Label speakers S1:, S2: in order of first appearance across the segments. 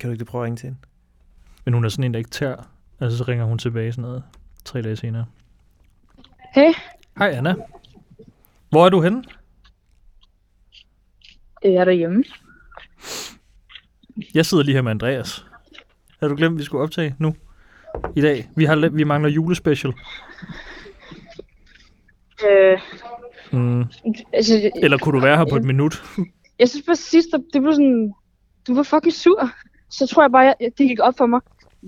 S1: Kan du ikke lige prøve at ringe til hende?
S2: Men hun er sådan en, der ikke tør. Altså, så ringer hun tilbage sådan noget tre dage senere.
S3: Hej.
S2: Hej, Anna. Hvor er du henne?
S3: Øh, Jeg er derhjemme.
S2: Jeg sidder lige her med Andreas. Har du glemt, at vi skulle optage nu? I dag. Vi, har, la- vi mangler julespecial.
S3: Øh,
S2: Mm.
S3: altså, jeg,
S2: Eller kunne du være her på et minut?
S3: jeg synes bare sidst, der- det blev sådan, du var fucking sur. Så tror jeg bare, jeg, det gik op for mig.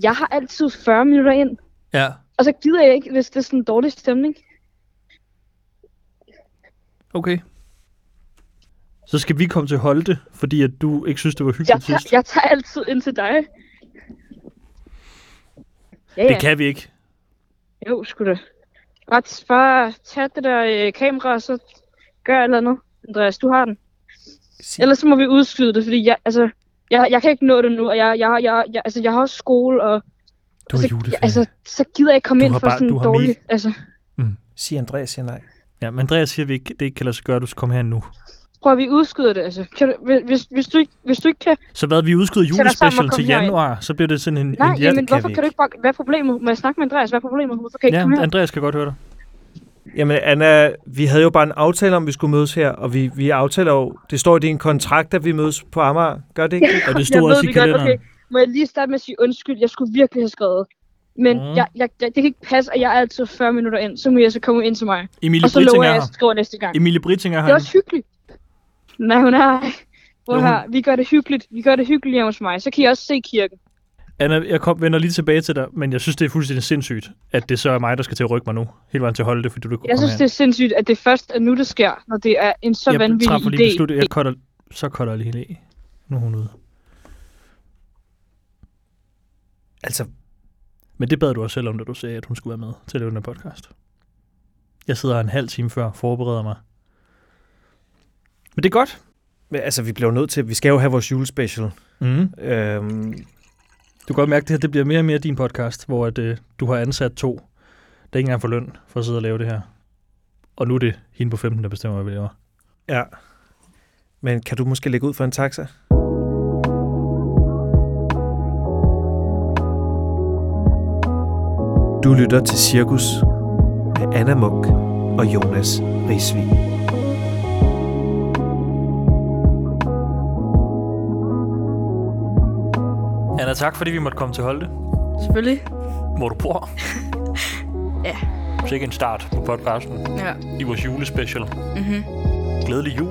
S3: Jeg har altid 40 minutter ind,
S2: Ja.
S3: og så gider jeg ikke, hvis det er sådan en dårlig stemning.
S2: Okay. Så skal vi komme til Holte, fordi at du ikke synes, det var
S3: Jeg,
S2: hyggeligt sidst.
S3: tager, jeg tager altid ind til dig. Ja, ja.
S2: Det kan vi ikke.
S3: Jo, sgu da. Bare, t- bare tag det der øh, kamera, og så gør et eller andet. Andreas, du har den.
S1: Sig,
S3: Ellers så må vi udskyde det, fordi jeg, altså, jeg, jeg kan ikke nå det nu, og jeg, jeg, jeg, jeg, altså, jeg har også skole, og
S2: Du er
S3: så,
S2: juleferie.
S3: altså, så gider jeg ikke komme
S2: Du
S3: ind
S2: har
S3: for
S2: bare-
S3: sådan
S2: du
S3: en
S2: har
S3: dårlig...
S2: mega-
S3: Altså,
S1: sig Andreas siger nej.
S2: Ja, men Andreas siger, at vi ikke, det ikke kan lade sig gøre, at du skal komme her nu.
S3: prøv at vi udskyder det, altså. Kan du, hvis- hvis, hvis, du ikke, hvis du ikke kan...
S2: Så hvad, vi udskyder
S3: Tag dig sammen og
S2: julespecial
S3: kom
S2: til
S3: herind.
S2: januar, så bliver det sådan en,
S3: Nej,
S2: en
S3: jamen,
S1: kan
S3: hvorfor
S1: vi
S3: kan du
S1: ikke.
S3: ikke bare... Hvad er problemet? Må jeg snakke med Andreas? Hvad er problemet? Hvorfor kan jeg ikke
S2: Ja,
S3: komme her?
S2: Andreas kan godt høre dig.
S1: Jamen, Anna, vi havde jo bare en aftale om, at vi skulle mødes her, og vi, vi aftaler jo, det står i din kontrakt, at vi mødes på Amager. Gør det ikke?
S2: Og det
S3: Jeg
S2: stod
S3: ved
S2: også i
S3: det godt,
S2: kalenderen.
S3: okay. Må jeg lige starte med at sige undskyld? Jeg skulle virkelig have skrevet. Men
S2: Mm.
S3: mm. jeg, jeg, jeg, det kan ikke passe, at jeg er altid 40 minutter ind. Så må jeg så komme ind til mig.
S2: Emilie
S3: Og så
S2: Britting
S3: lover
S2: er
S3: jeg, at jeg
S2: her.
S3: skriver næste gang.
S2: Emilie Britting er
S3: Det er
S2: her.
S3: også hyggeligt. Nej, hun er ej. Prøv
S2: Jo,
S3: her, vi gør det hyggeligt. Vi gør det hyggeligt hjemme hos mig. Så kan I også se kirken.
S2: Anna, jeg kom, vender lige tilbage til dig, men jeg synes, det er fuldstændig sindssygt, at det så er mig, der skal til at rykke mig nu. Hele vejen til at holde det, fordi du ikke kunne
S3: Jeg
S2: komme
S3: synes, det er sindssygt, at det først er nu, det sker, når det er en så
S2: jeg
S3: vanvittig
S2: træffer lige
S3: idé.
S2: beslut, jeg cutter, så cutter jeg lige helt af. Nu er hun ude.
S1: Altså,
S2: Men det bad du også selv om, da du sagde, at hun skulle være med til at lave den her podcast. Jeg sidder her en halv time før, forbereder mig. Men det er godt.
S1: men, altså, vi bliver jo nødt til, vi skal jo have vores julespecial.
S2: Mm.
S1: Øhm,
S2: Du kan godt mærke, at det her det bliver mere og mere din podcast, hvor at, øh, du har ansat to, der ikke engang får løn for at sidde og lave det her. Og nu er det hende på 15, der bestemmer, hvad vi laver.
S1: ja. Men kan du måske lægge ud for en taxa? Du lytter til Cirkus med Anna Munk og Jonas Risvig.
S2: Anna, tak fordi vi måtte komme til Holte,
S4: Selvfølgelig.
S2: hvor du bor.
S4: Ja.
S2: Sikke en start på podcasten
S4: Ja.
S2: i vores julespecial.
S4: Mm-hmm.
S2: Glædelig jul.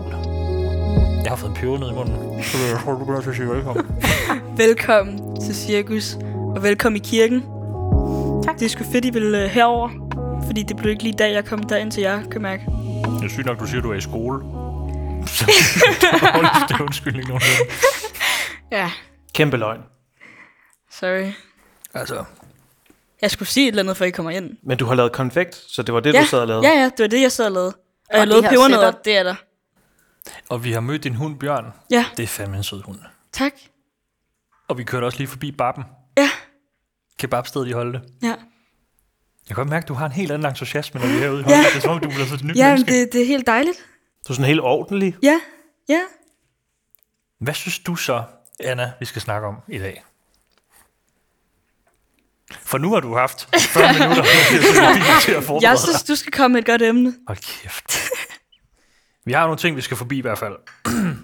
S2: Jeg har fået en peber ned i munden, så jeg tror, du bliver nødt til at sige velkommen.
S4: Velkommen til Cirkus, og velkommen i kirken. Tak. Det er sgu fedt, I vil øh, herover, fordi det blev ikke lige i dag, jeg kom derind til jer, kan jeg mærke.
S2: Det er sygt nok, du siger, du er i skole. Så det er undskyldning, nogen
S4: Ja,
S1: Kæmpe løgn.
S4: sorry.
S2: Altså,
S4: Jeg skulle sige et eller andet, før I kommer ind.
S1: Men du har lavet konfekt, så det var det,
S4: ja. Ja, ja, det var det, jeg sad og lavede. Og, og jeg lavede pebernødder, det er der.
S2: og vi har mødt din hund, Bjørn.
S4: Ja,
S2: Det er fandme en sød hund.
S4: tak.
S2: Og vi kørte også lige forbi Bappen.
S4: Ja,
S2: Kebabstedet i Holte.
S4: ja.
S2: Jeg kan godt mærke, at du har en helt anden entusiasme, når vi er herude i Holte. Det er som om, du bliver sådan et nyt
S4: Ja, men
S2: menneske.
S4: det, det er helt dejligt.
S1: Du er sådan helt ordentlig.
S4: Ja, ja.
S2: Hvad synes du så, Anna, vi skal snakke om i dag? For nu har du haft 40 minutter til at forberede
S4: Jeg synes, du skal komme med et godt emne.
S2: Hold kæft. Vi har nogle ting, vi skal forbi i hvert fald.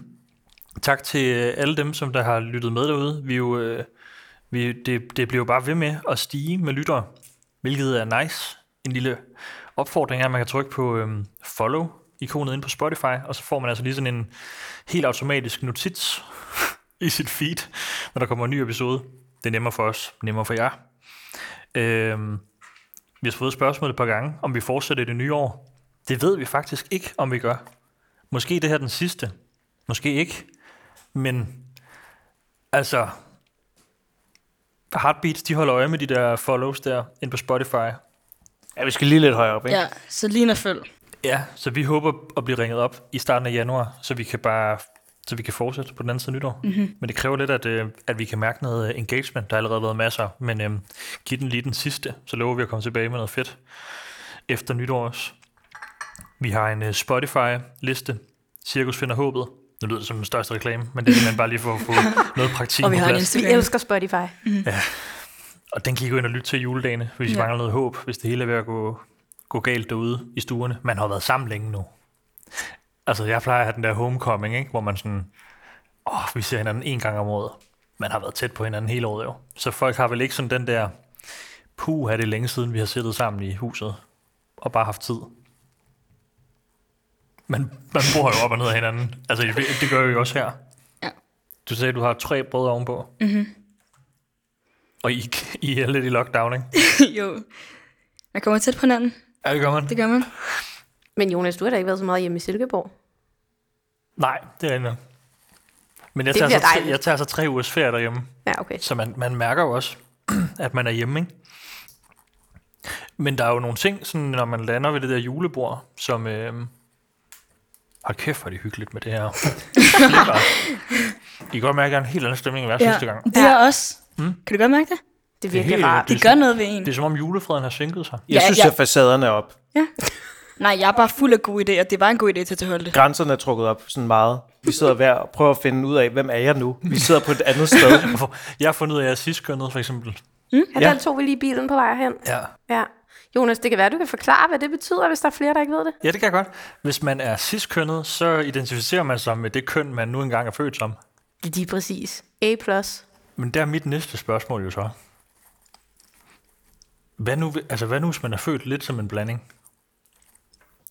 S2: tak til øh, alle dem, som der har lyttet med derude. Vi er jo, øh, vi, det, det bliver jo bare ved med at stige med lyttere, hvilket er nice. En lille opfordring er, at man kan trykke på øhm, follow-ikonet inde på Spotify, og så får man altså lige sådan en helt automatisk notits i sit feed, når der kommer en ny episode. Det er nemmere for os, nemmere for jer. Øhm, vi har fået spørgsmålet et par gange, om vi fortsætter i det nye år. Det ved vi faktisk ikke, om vi gør. Måske det her er den sidste. Måske ikke. Men altså, Heartbeats, de holder øje med de der follows der ind på Spotify.
S1: Ja, vi skal lige lidt højere op, ikke?
S4: Ja, så Lina følg.
S2: Ja, så vi håber at blive ringet op i starten af januar, så vi kan bare så vi kan fortsætte på den anden side af nytår. Mm-hmm. Men det kræver lidt, at, øh, at vi kan mærke noget øh, engagement. Der har allerede været masser, men øh, giv den lige den sidste, så lover vi at komme tilbage med noget fedt efter nytår også. Vi har en øh, Spotify-liste, Cirkus finder håbet, Nu lyder det som den største reklame, men det er simpelthen bare lige for at få noget praktik
S4: Og vi
S2: på
S4: har en
S2: plads.
S4: Instagram.
S5: Vi elsker Spotify.
S2: Og den kan I gå ind og lytte til i juledagene, hvis I
S4: Ja.
S2: mangler noget håb, hvis det hele er ved at gå, gå galt derude i stuerne. Man har jo været sammen længe nu. Altså, jeg plejer at have den der homecoming, ikke? hvor man sådan, åh, vi ser hinanden en gang om året. Man har været tæt på hinanden hele året jo. Så folk har vel ikke sådan den der, puh, er det længe siden, vi har siddet sammen i huset og bare haft tid. Men man bor jo op og ned af hinanden. Altså, det, det gør vi jo også her.
S4: Ja.
S2: Du sagde, at du har tre brødre ovenpå. Mm-hmm. Og I, I er lidt i lockdown, ikke?
S4: jo. Man kommer tæt på hinanden.
S2: Ja, det gør man.
S4: Det gør man.
S5: Men Jonas, du har da ikke været så meget hjemme i Silkeborg.
S2: Nej, det er ikke Men jeg
S5: Det
S2: tager,
S5: bliver
S2: så tre,
S5: dejligt.
S2: jeg tager så tre ugers ferie derhjemme,
S5: Ja, okay.
S2: så man, man mærker jo også, at man er hjemme, ikke? Men der er jo nogle ting, sådan, når man lander ved det der julebord, som... Øh, hold kæft, hvor er det hyggeligt med det her. Flipper. I kan godt mærke, at der er en helt anden stemning end hver sidste gang.
S4: Det er
S5: Ja.
S4: også. Mm. Kan du godt mærke det?
S5: Det er
S2: Det er
S5: virkelig
S2: helt-
S5: rart.
S4: Det gør noget ved en.
S2: Det er som om julefreden har sænket sig.
S6: Jeg
S4: Ja,
S6: synes,
S4: ja.
S6: at facaderne er op.
S4: Nej, jeg er bare fuld af gode idéer. Det var en god idé til at holde det.
S6: Grænserne er trukket op sådan meget. Vi sidder hver og prøver at finde ud af, hvem er jeg nu? Vi sidder på et andet sted.
S2: Hvorfor- Jeg har fundet ud af, at jeg er sidstkønnet, for eksempel.
S5: Ja, der tog vi lige bilen på vej hen.
S2: Ja.
S5: Ja. Jonas, det kan være, du kan forklare, hvad det betyder, hvis der er flere, der ikke ved det.
S2: Ja, det kan jeg godt. Hvis man er sidstkønnet, så identificerer man sig med det køn, man nu engang er født som.
S5: Lige præcis. A+.
S2: Men der er mit næste spørgsmål jo så. Hvad nu, altså, hvad nu hvis man er født lidt som en blanding?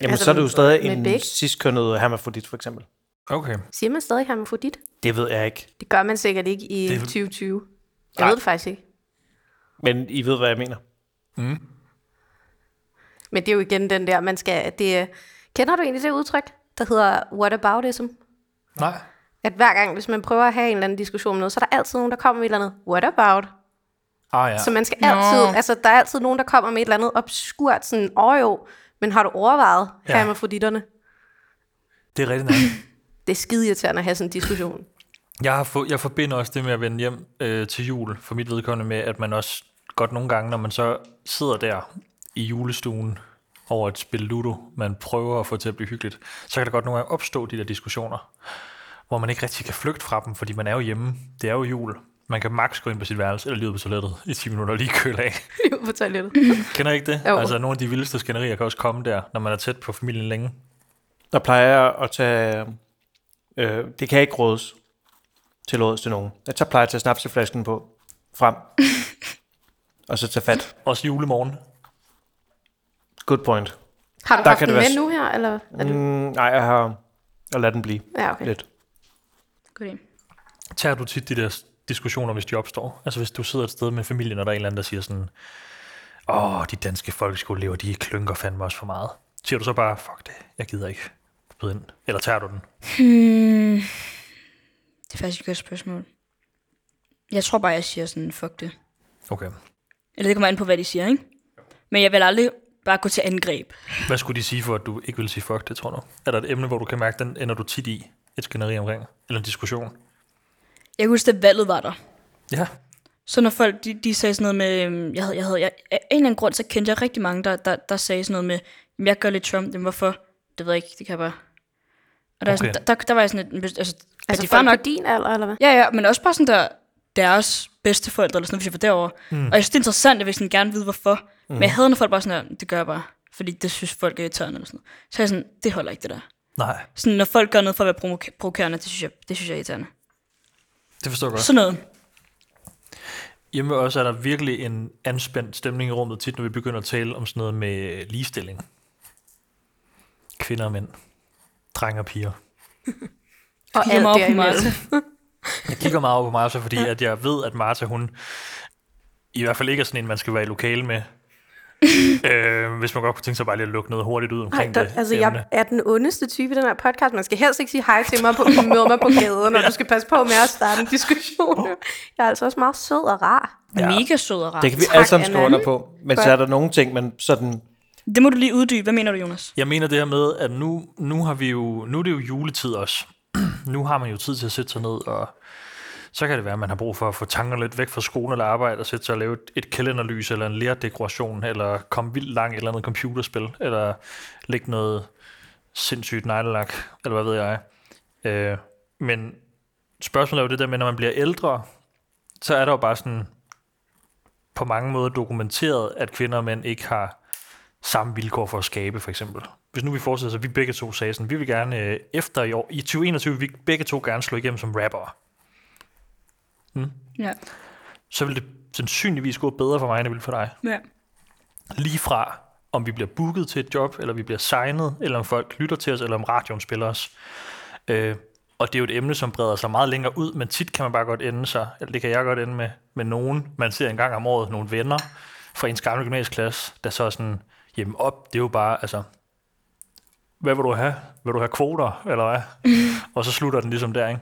S6: Jamen,
S5: Altså,
S6: så er det jo stadig
S5: med
S6: en
S5: begge.
S6: sidstkønnet hermafrodit, for eksempel.
S2: Okay.
S5: Siger man stadig hermafrodit?
S6: Det ved jeg ikke.
S5: Det gør man sikkert ikke i
S2: Det-
S5: 2020. Jeg
S6: Nej.
S5: ved det faktisk ikke.
S6: Men I ved, hvad jeg mener.
S5: Men det er jo igen den der, man skal... Det, er- kender du egentlig det udtryk, der hedder whataboutism?
S2: Nej.
S5: At hver gang, hvis man prøver at have en eller anden diskussion om noget, så er der altid nogen, der kommer med et eller andet what about.
S2: Ah ja.
S5: Så man skal
S4: Nå.
S5: altid... Altså, der er altid nogen, der kommer med et eller andet obskurt, sådan, åh jo, men har du overvejet
S2: Ja.
S5: ja. hermafroditterne?
S2: Det er rigtigt nok.
S5: Det er skide irriterende at have sådan en diskussion.
S2: Jeg, har få, jeg forbinder også det med at vende hjem øh, til jul, for mit vedkommende med, at man også godt nogle gange, når man så sidder der i julestuen over et spil Ludo, man prøver at få til at blive hyggeligt, så kan der godt nogle gange opstå de der diskussioner, hvor man ikke rigtig kan flygte fra dem, fordi man er jo hjemme. Det er jo jul. Man kan maks gå ind på sit værelse eller lige ud på toilettet i 10 minutter og lige køle af.
S5: Lige ud på toilettet.
S2: Kender I ikke det?
S5: Jo.
S2: Altså, nogle af de vildeste skænderier kan også komme der, når man er tæt på familien længe.
S6: Der plejer jeg at tage... Øh, det kan ikke rådes til rådes til nogen. Jeg tager plejer jeg at tage snapseflasken på frem. og så tage fat.
S2: Også julemorgen.
S6: Good point.
S5: Har du
S6: Der
S5: haft
S6: kan
S5: den
S6: det
S5: med
S6: være s-
S5: nu her? Eller er du...
S6: Mm, nej, jeg har... Jeg lader den blive
S2: Mm,
S5: Ja, okay.
S6: lidt.
S4: God idé.
S2: Tager du tit de der s- diskussioner, hvis de opstår? Altså, hvis du sidder et sted med familien, og der er en eller anden, der siger sådan, åh, de danske folkeskoleelever, de klynker fandme også for meget. Siger du så bare, fuck det, jeg gider ikke byde ind. Eller tager du den?
S4: Hmm. Det er faktisk et godt spørgsmål. Jeg tror bare, jeg siger sådan, fuck det.
S2: Okay.
S4: Eller det kommer an på, hvad de siger, ikke? Men jeg vil aldrig bare gå til angreb.
S2: Hvad skulle de sige for, at du ikke vil sige fuck det, tror du? Er der et emne, hvor du kan mærke, den ender du tit i et skænderi omkring? Eller en diskussion?
S4: Jeg kan huske, at valget var der.
S2: Ja.
S4: Så når folk, de, de sagde sådan noget med, øhm, jeg havde, jeg havde, jeg, af en eller anden grund, så kendte jeg rigtig mange, der, der, der sagde sådan noget med, "Jamen, jeg gør lidt Trump, men hvorfor? Det ved jeg ikke, det kan jeg bare. Og der, okay.
S2: Okay.
S4: sådan, der, der, der var jeg sådan lidt, "Hvis- altså,
S5: Altså,
S4: altså, de
S5: folk
S4: fair nok,
S5: på din alder, eller hvad?
S4: Ja, ja, men også bare sådan der, deres bedsteforældre, eller sådan noget, hvis jeg var derovre. Mm. Og jeg synes, det er interessant, jeg vil sådan gerne vide, hvorfor. Mm. Men jeg havde, når folk bare sådan der, det gør jeg bare, fordi det synes folk er irriterende, eller sådan noget. Så er jeg sådan, det holder ikke det der.
S2: Nej,
S4: Sådan, når folk gør noget for at være provoka- provokerende, det synes jeg, det synes jeg er irriterende.
S2: det forstår jeg godt.
S4: Sådan noget.
S2: Hjemme også er der virkelig en anspændt stemning i rummet, tit når vi begynder at tale om sådan noget med ligestilling. Kvinder og mænd. Drenge og piger.
S5: Og
S4: Kigger mig op på Martha.
S2: Jeg kigger meget over på Martha, fordi at jeg ved, at Martha, hun i hvert fald ikke er sådan en, man skal være i lokale med. øh, hvis man godt kunne tænke sig bare lige at lukke noget hurtigt ud
S5: Nej,
S2: omkring
S5: der,
S2: det
S5: altså,
S2: emne.
S5: jeg er den ondeste type i den her podcast. Man skal helst ikke sige hej til mig på, med mig på gaden, og du skal passe på med at starte en diskussion. Jeg er altså også meget sød og rar.
S4: Ja. Mega sød og rar.
S6: Det kan vi
S5: Ah, Tak,
S6: alle sammen skrive
S5: Anna.
S6: under på. Men så
S5: Godt.
S6: er der nogle ting, man sådan...
S4: Det må du lige uddybe. Hvad mener du, Jonas?
S2: Jeg mener det her med, at nu, nu har vi jo, nu er det jo juletid også. nu har man jo tid til at sætte sig ned, og så kan det være, at man har brug for at få tankerne lidt væk fra skolen eller arbejde, og sætte sig og lave et, et kalenderlys, eller en lærdekoration, eller komme vildt langt i et eller andet computerspil, eller lægge noget sindssygt neglelak, eller hvad ved jeg. Øh, Men spørgsmålet er jo det der med, når man bliver ældre, så er der jo bare sådan på mange måder dokumenteret, at kvinder og mænd ikke har samme vilkår for at skabe, for eksempel. Hvis nu vi fortsætter, så vi begge to sagde sådan, vi vil gerne øh, efter i år, i 2021, vi vil begge to gerne slå igennem som rapper.
S4: Ja.
S2: Så vil det sandsynligvis gå bedre for mig, end det vil for dig.
S4: ja.
S2: lige fra, om vi bliver booket til et job, eller vi bliver signet, eller om folk lytter til os, eller om radioen spiller os. Øh, og det er jo et emne, som breder sig meget længere ud, men tit kan man bare godt ende sig, eller det kan jeg godt ende med, med nogen, man ser en gang om året, nogle venner fra ens gamle gymnasieklasse, der så er sådan, jamen op, det er jo bare, altså, hvad vil du have? Vil du have kvoter, eller hvad? og så slutter den ligesom der, ikke?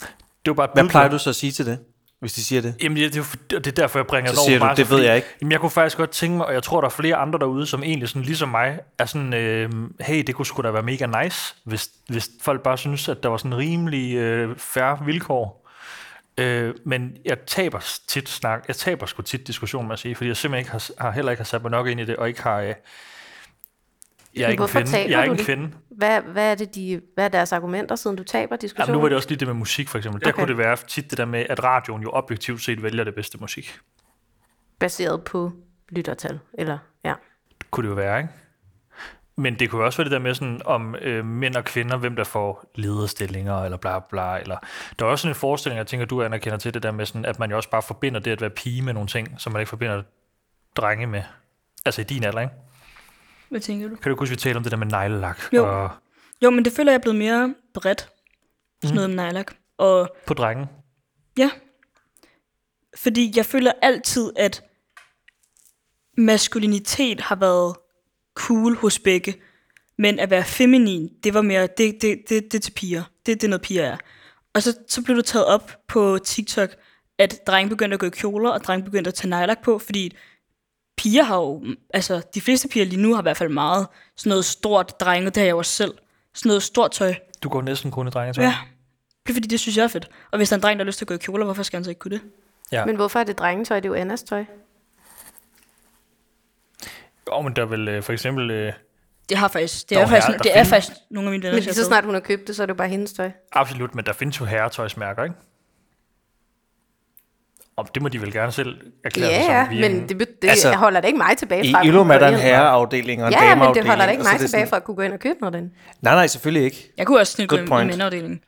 S2: Det er jo bare et
S6: Hvad
S2: bud på-
S6: plejer du så at sige til det, hvis de siger det?
S2: Jamen, det, det, er jo for- og det er derfor, jeg bringer
S6: Så
S2: det over
S6: siger du,
S2: Martha,
S6: det ved
S2: fordi-
S6: jeg ikke.
S2: Jamen, jeg kunne faktisk godt tænke mig, og jeg tror, der er flere andre derude, som egentlig sådan, ligesom mig, er sådan, øh, hey, det kunne sgu da være mega nice, hvis, hvis folk bare synes, at der var sådan rimelig øh, færre vilkår. Øh, men jeg taber s- tit snak, jeg taber sgu tit diskussion med at sige, fordi jeg simpelthen ikke har, har heller ikke har sat mig nok ind i det, og ikke har... Øh, jeg er ikke en
S5: Hvorfor
S2: kvinde.
S5: taber
S2: Jeg er
S5: du
S2: ikke en
S5: det?
S2: kvinde.
S5: Hvad, hvad, er det de, hvad er deres argumenter, siden du taber diskussionen?
S2: Jamen, nu var det også lige det med musik, for eksempel. Der
S5: Okay.
S2: kunne det være tit det der med, at radioen jo objektivt set vælger det bedste musik.
S5: Baseret på lyttertal, eller ja.
S2: kunne det jo være, ikke? Men det kunne jo også være det der med sådan, om øh, mænd og kvinder, hvem der får lederstillinger, eller bla bla, eller... Der er også sådan en forestilling, jeg tænker, du anerkender til det der med sådan, at man jo også bare forbinder det at være pige med nogle ting, som man ikke forbinder drenge med. Altså i din alder, ikke?
S4: Hvad tænker du?
S2: Kan du ikke huske, vi talte om det der med neglelak?
S4: Jo.
S2: Og
S4: Jo, men det føler jeg er blevet mere bredt. Sådan noget med nylak. Og
S2: på drenge.
S4: Ja. Fordi jeg føler altid, at maskulinitet har været cool hos begge, men at være feminin, det var mere, det, det, det, det er til piger. Det, det er noget piger er. Og så, så blev det taget op på TikTok, at drenge begyndte at gå i kjoler, og drenge begyndte at tage nejlak på, fordi piger har jo, altså de fleste piger lige nu har i hvert fald meget sådan noget stort drenge, det har jeg jo også selv, sådan noget stort tøj.
S2: Du går næsten kun i drenge,
S4: Ja. Det er fordi, det synes jeg er fedt. Og hvis der er en dreng, der har lyst til at gå i kjoler, hvorfor skal han så ikke kunne det?
S2: Ja.
S5: Men hvorfor er det drengetøj? Det er jo Annas tøj.
S2: Jo, men der er vel øh, for eksempel... Øh,
S4: Det har faktisk, det
S2: Der
S4: er,
S2: er
S4: faktisk,
S2: herrer, der
S4: det er
S2: findes.
S4: faktisk nogle af mine venner,
S5: Men lige så
S4: der
S5: snart hun har købt det, så er det jo bare hendes tøj.
S2: absolut, men der findes jo herretøjsmærker, ikke? Og det må de vel gerne selv erklære sig
S5: Ja,
S2: som.
S5: ja,
S2: Vi er en-
S5: men det, det
S6: Altså,
S5: altså, holder da ikke mig tilbage
S6: I
S5: fra. at
S6: Ilum
S5: kunne
S6: er
S5: gå
S6: der en
S5: ind.
S6: herreafdeling og en
S5: Ja,
S6: dameafdeling.
S5: men det holder da ikke
S6: og så er
S5: mig
S6: det
S5: tilbage
S6: sådan-
S5: fra at kunne gå ind og købe noget af den.
S6: Nej, nej, selvfølgelig ikke.
S4: Jeg kunne også snit gå
S6: Good
S4: i i
S6: point.
S4: mændeafdelingen.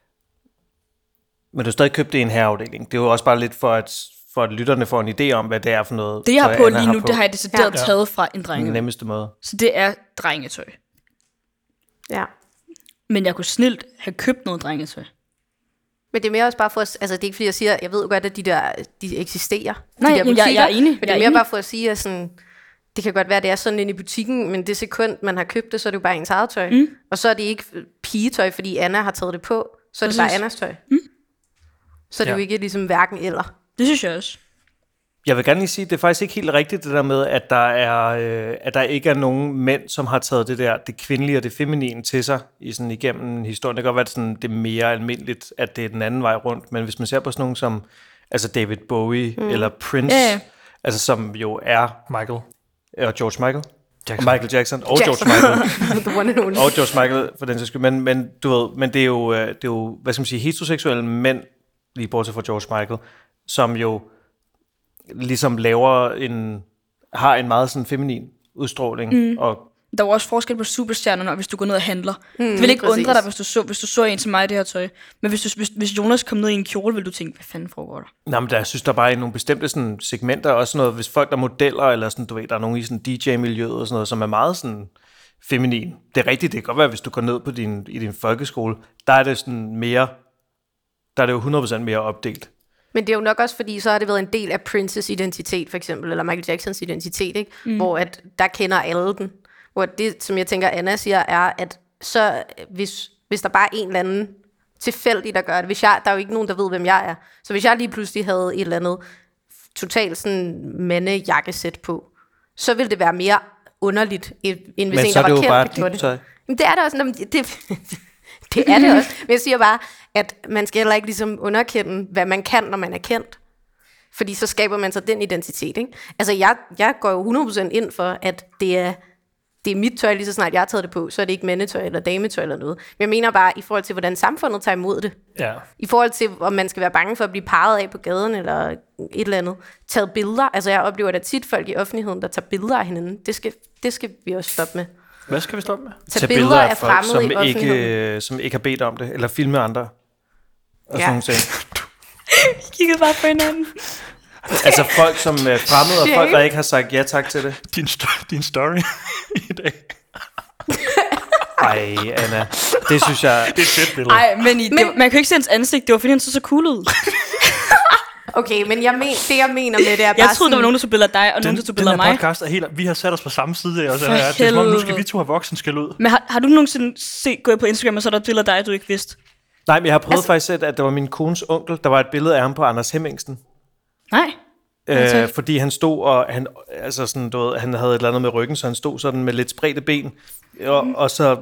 S6: Men du har stadig købt det i en herreafdeling. Det er jo også bare lidt for, at, for at lytterne får en idé om, hvad det er for noget.
S4: Det, jeg har
S6: tøj,
S4: på
S6: Anna
S4: lige nu, det har jeg decideret
S5: Ja.
S4: ja. taget fra en
S6: den
S4: drenge.
S6: nemmeste måde.
S4: Så det er drengetøj.
S5: Ja.
S4: Men jeg kunne snilt have købt noget drengetøj.
S5: Men det er mere også bare for at, altså det er ikke fordi, jeg siger, jeg ved jo godt, at de der, de eksisterer.
S4: Nej,
S5: de der
S4: jeg- jeg er enig.
S5: Men det
S4: Jeg
S5: er
S4: er
S5: mere
S4: enig.
S5: bare for at sige, at sådan, det kan godt være, at det er sådan inde i butikken, men det sekund, man har købt det, så er det jo bare ens eget tøj. Mm. Og så er det ikke pigetøj, fordi Anna har taget det på, så er det bare
S4: Præcis.
S5: Annas tøj. Mm. Så er det
S2: Ja.
S5: jo ikke ligesom hverken eller.
S4: Det synes jeg også.
S6: Jeg vil gerne lige sige, at det er faktisk ikke helt rigtigt det der med, at der, er, øh, at der ikke er nogen mænd, som har taget det der det kvindelige og det feminine til sig i sådan igennem historien. Det kan godt være, at sådan, det er mere almindeligt, at det er den anden vej rundt, men hvis man ser på sådan nogen som altså David Bowie mm. eller Prince,
S4: Ja, ja.
S6: altså som jo er,
S2: Michael.
S6: og George Michael,
S2: Jackson.
S6: Jackson. Michael Jackson og
S5: Jackson.
S6: Jackson. George Michael,
S5: The one and only.
S6: og George Michael for den sags skyld, men, men, du ved, men det, er jo, øh, det er jo, hvad skal man sige, heteroseksuelle mænd, lige bortset fra George Michael, som jo ligesom laver en, har en meget sådan feminin udstråling, mm. og
S4: Der var også forskel på superstjernerne, og hvis du går ned og handler. Mm, det vil ikke
S5: præcis.
S4: præcis. undre dig, hvis du, så, hvis du så en som mig i det her tøj. Men hvis, du, hvis, hvis Jonas kom ned i en kjole, ville du tænke, hvad fanden foregår der?
S6: Nå, men der, jeg synes, der bare er nogle bestemte sådan, segmenter, også sådan noget, hvis folk der er modeller, eller sådan, du ved, der er nogen i sådan DJ-miljøet og sådan noget, som er meget sådan feminin. Det er rigtigt, det kan godt være, hvis du går ned på din, i din folkeskole, der er det sådan mere, der er det jo 100% mere opdelt.
S5: Men det er jo nok også, fordi så har det været en del af Princes identitet, for eksempel, eller Michael Jacksons identitet, ikke? Mm. hvor at der kender alle den. Hvor det, som jeg tænker, Anna siger, er, at så, øh, hvis, hvis der bare er en eller anden tilfældig, der gør det, hvis jeg, der er jo ikke nogen, der ved, hvem jeg er, så hvis jeg lige pludselig havde et eller andet totalt sådan mandejakkesæt på, så ville det være mere underligt, end hvis
S6: Men
S5: en,
S6: så
S5: der
S6: er det
S5: var
S6: jo
S5: kendt,
S6: bare
S5: der gjorde
S6: dit tøj.
S5: men det er det også. Nå, men Det, det, det er det også. Men jeg siger bare, at man skal heller ikke ligesom underkende, hvad man kan, når man er kendt. Fordi så skaber man sig den identitet. Ikke? Altså, jeg, jeg går jo 100% ind for, at det er det er mit tøj, lige så snart jeg har taget det på, så er det ikke mandetøj eller dametøj eller noget. Men jeg mener bare, i forhold til, hvordan samfundet tager imod det,
S2: Ja.
S5: i forhold til, om man skal være bange for at blive parret af på gaden eller et eller andet, taget billeder. Altså, jeg oplever da tit folk i offentligheden, der tager billeder af hinanden. Det skal, det skal vi også stoppe med.
S2: Hvad skal vi stoppe med?
S5: Tage, tage billeder, af
S6: folk,
S5: fremmede i
S6: som
S5: offentligheden.
S6: ikke, øh, som ikke har bedt om det, eller filme andre. Og sådan
S5: Ja.
S6: nogle ting.
S4: Vi kiggede bare på hinanden.
S6: Altså folk, som er fremmede, og folk, der ikke har sagt ja tak til det.
S2: Din, sto- din story i dag.
S6: Ej, Anna, det synes jeg...
S2: Det er et fedt billede.
S4: Nej, men, I, men...
S5: Men-
S4: Det, man kan jo ikke se hans ansigt. Det var fordi, han så så cool ud.
S5: Okay, men jeg men, det, jeg mener med det, er bare
S4: Jeg troede, der var
S5: sådan,
S4: nogen, der tog billeder af dig, og nogen, der tog
S2: den
S4: billeder af
S2: her
S4: mig.
S2: podcast er helt... Vi har sat os på samme side. Også,
S4: For
S2: Anna. det er som om, nu skal
S4: helvede.
S2: vi to have voksen skal ud.
S4: Men har, har du nogensinde set, gået på Instagram, og så er der et billede af dig, du ikke vidste?
S6: Nej, men jeg har prøvet altså, faktisk, at- at det var min kones onkel, der var et billede af ham på Anders Hemmingsen.
S4: Nej.
S6: Øh, fordi han stod, og han, altså sådan, du ved, han havde et eller andet med ryggen, så han stod sådan med lidt spredte ben,
S4: Mhm.
S6: og, mm. og så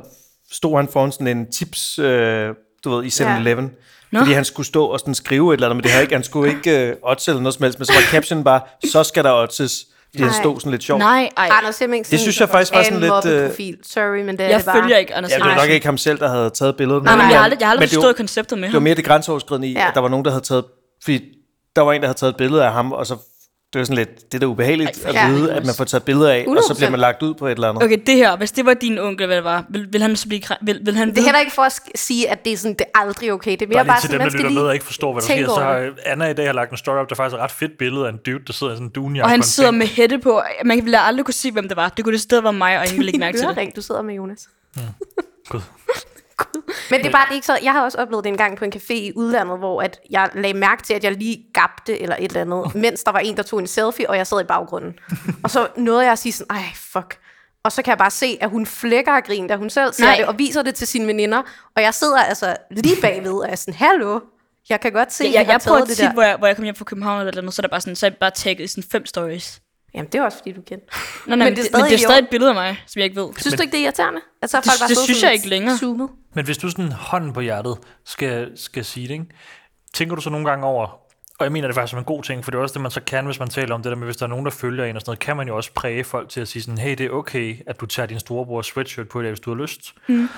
S6: stod han foran sådan en tips, øh, du ved, i 7-Eleven. Ja.
S4: Nå.
S6: Fordi han skulle stå og sådan skrive et eller andet, men det havde ikke, han skulle ikke øh, odds eller noget som helst, men så var captionen bare, så skal der oddses, fordi han
S5: Nej.
S6: stod sådan lidt sjovt.
S4: Nej, ej.
S5: Anders Hemmingsen
S6: Det synes jeg faktisk var
S5: er
S6: sådan
S5: en
S6: lidt, øh,
S5: mobbeprofil. Sorry, men det er
S4: Jeg
S5: det bare.
S4: følger ikke Anders
S6: Ja, det var
S5: Nej.
S6: nok ikke ham selv, der havde taget billedet.
S5: Nej, nej,
S4: Jeg har
S5: jeg
S4: aldrig, jeg har aldrig
S6: Men det var-
S4: forstået konceptet med
S6: Det var
S4: ham.
S6: mere det grænseoverskridende i, ja.
S5: Ja.
S6: at der var nogen, der havde taget... Fordi der var en, der havde taget et billede af ham, og så... Det var sådan lidt, det er da ubehageligt at
S5: ja.
S6: vide, at man får taget billeder af, og så
S5: 100%.
S6: bliver man lagt ud på et eller andet.
S4: Okay, det her, hvis det var din onkel, hvad det var, vil, vil han så blive... kræ- Vil, vil han
S5: Det er heller ikke for at sk- sige, at det er sådan, det er aldrig okay. Det er mere
S2: Bare
S5: bare,
S2: lige til
S5: sådan,
S2: dem, der
S5: man skal
S2: lytter med og
S5: lige...
S2: ikke forstår, hvad der
S5: tænke
S2: sker, så
S5: over
S2: har Anna i dag har lagt en story op, der faktisk er et ret fedt billede af en dude, der sidder i sådan en dunjakke.
S4: Og han
S2: på en
S4: sidder
S2: bænk.
S4: med hætte på. Man ville aldrig kunne se, hvem det var. Det kunne det sted være mig, og ingen ville ikke mærke til det.
S5: Ørering, du sidder med, Jonas.
S2: Gud.
S5: Men
S4: Øh.
S5: det er bare det er ikke så... Jeg har også oplevet det en gang på en café i udlandet, hvor at jeg lagde mærke til, at jeg lige gabte eller et eller andet, mens der var en, der tog en selfie, og jeg sad i baggrunden. Og så nåede jeg at sige sådan, ej, fuck. Og så kan jeg bare se, at hun flækker af grin, da hun selv ser
S4: Nej.
S5: det, og viser det til sine veninder. Og jeg sidder altså lige bagved, og jeg er sådan, hallo, jeg kan godt se,
S4: Jeg,
S5: at
S4: jeg,
S5: har
S4: jeg prøver
S5: taget det
S4: tit,
S5: der.
S4: hvor jeg, hvor jeg kom hjem fra København eller et eller andet, så er der bare sådan, så er jeg bare tagget i sådan fem stories.
S5: Jamen, det er også, fordi du kendte.
S4: Nå, nej, men, det, men det er
S5: i
S4: stadig
S5: orden.
S4: et billede af mig, som jeg ikke ved.
S5: Synes du ikke, det er irriterende? Altså, At så har
S4: Det-
S5: folk bare
S4: det
S5: stået
S4: synes
S5: sådan
S4: jeg ikke længere.
S5: Zoomet.
S2: Men hvis du sådan hånden på hjertet skal, skal sige det, ikke? tænker du så nogle gange over, og jeg mener det faktisk som en god ting, for det er også det, man så kan, hvis man taler om det der med, hvis der er nogen, der følger en og sådan noget, kan man jo også præge folk til at sige sådan, hey, det er okay, at du tager din storebrors sweatshirt på i dag, hvis du har lyst. Mm.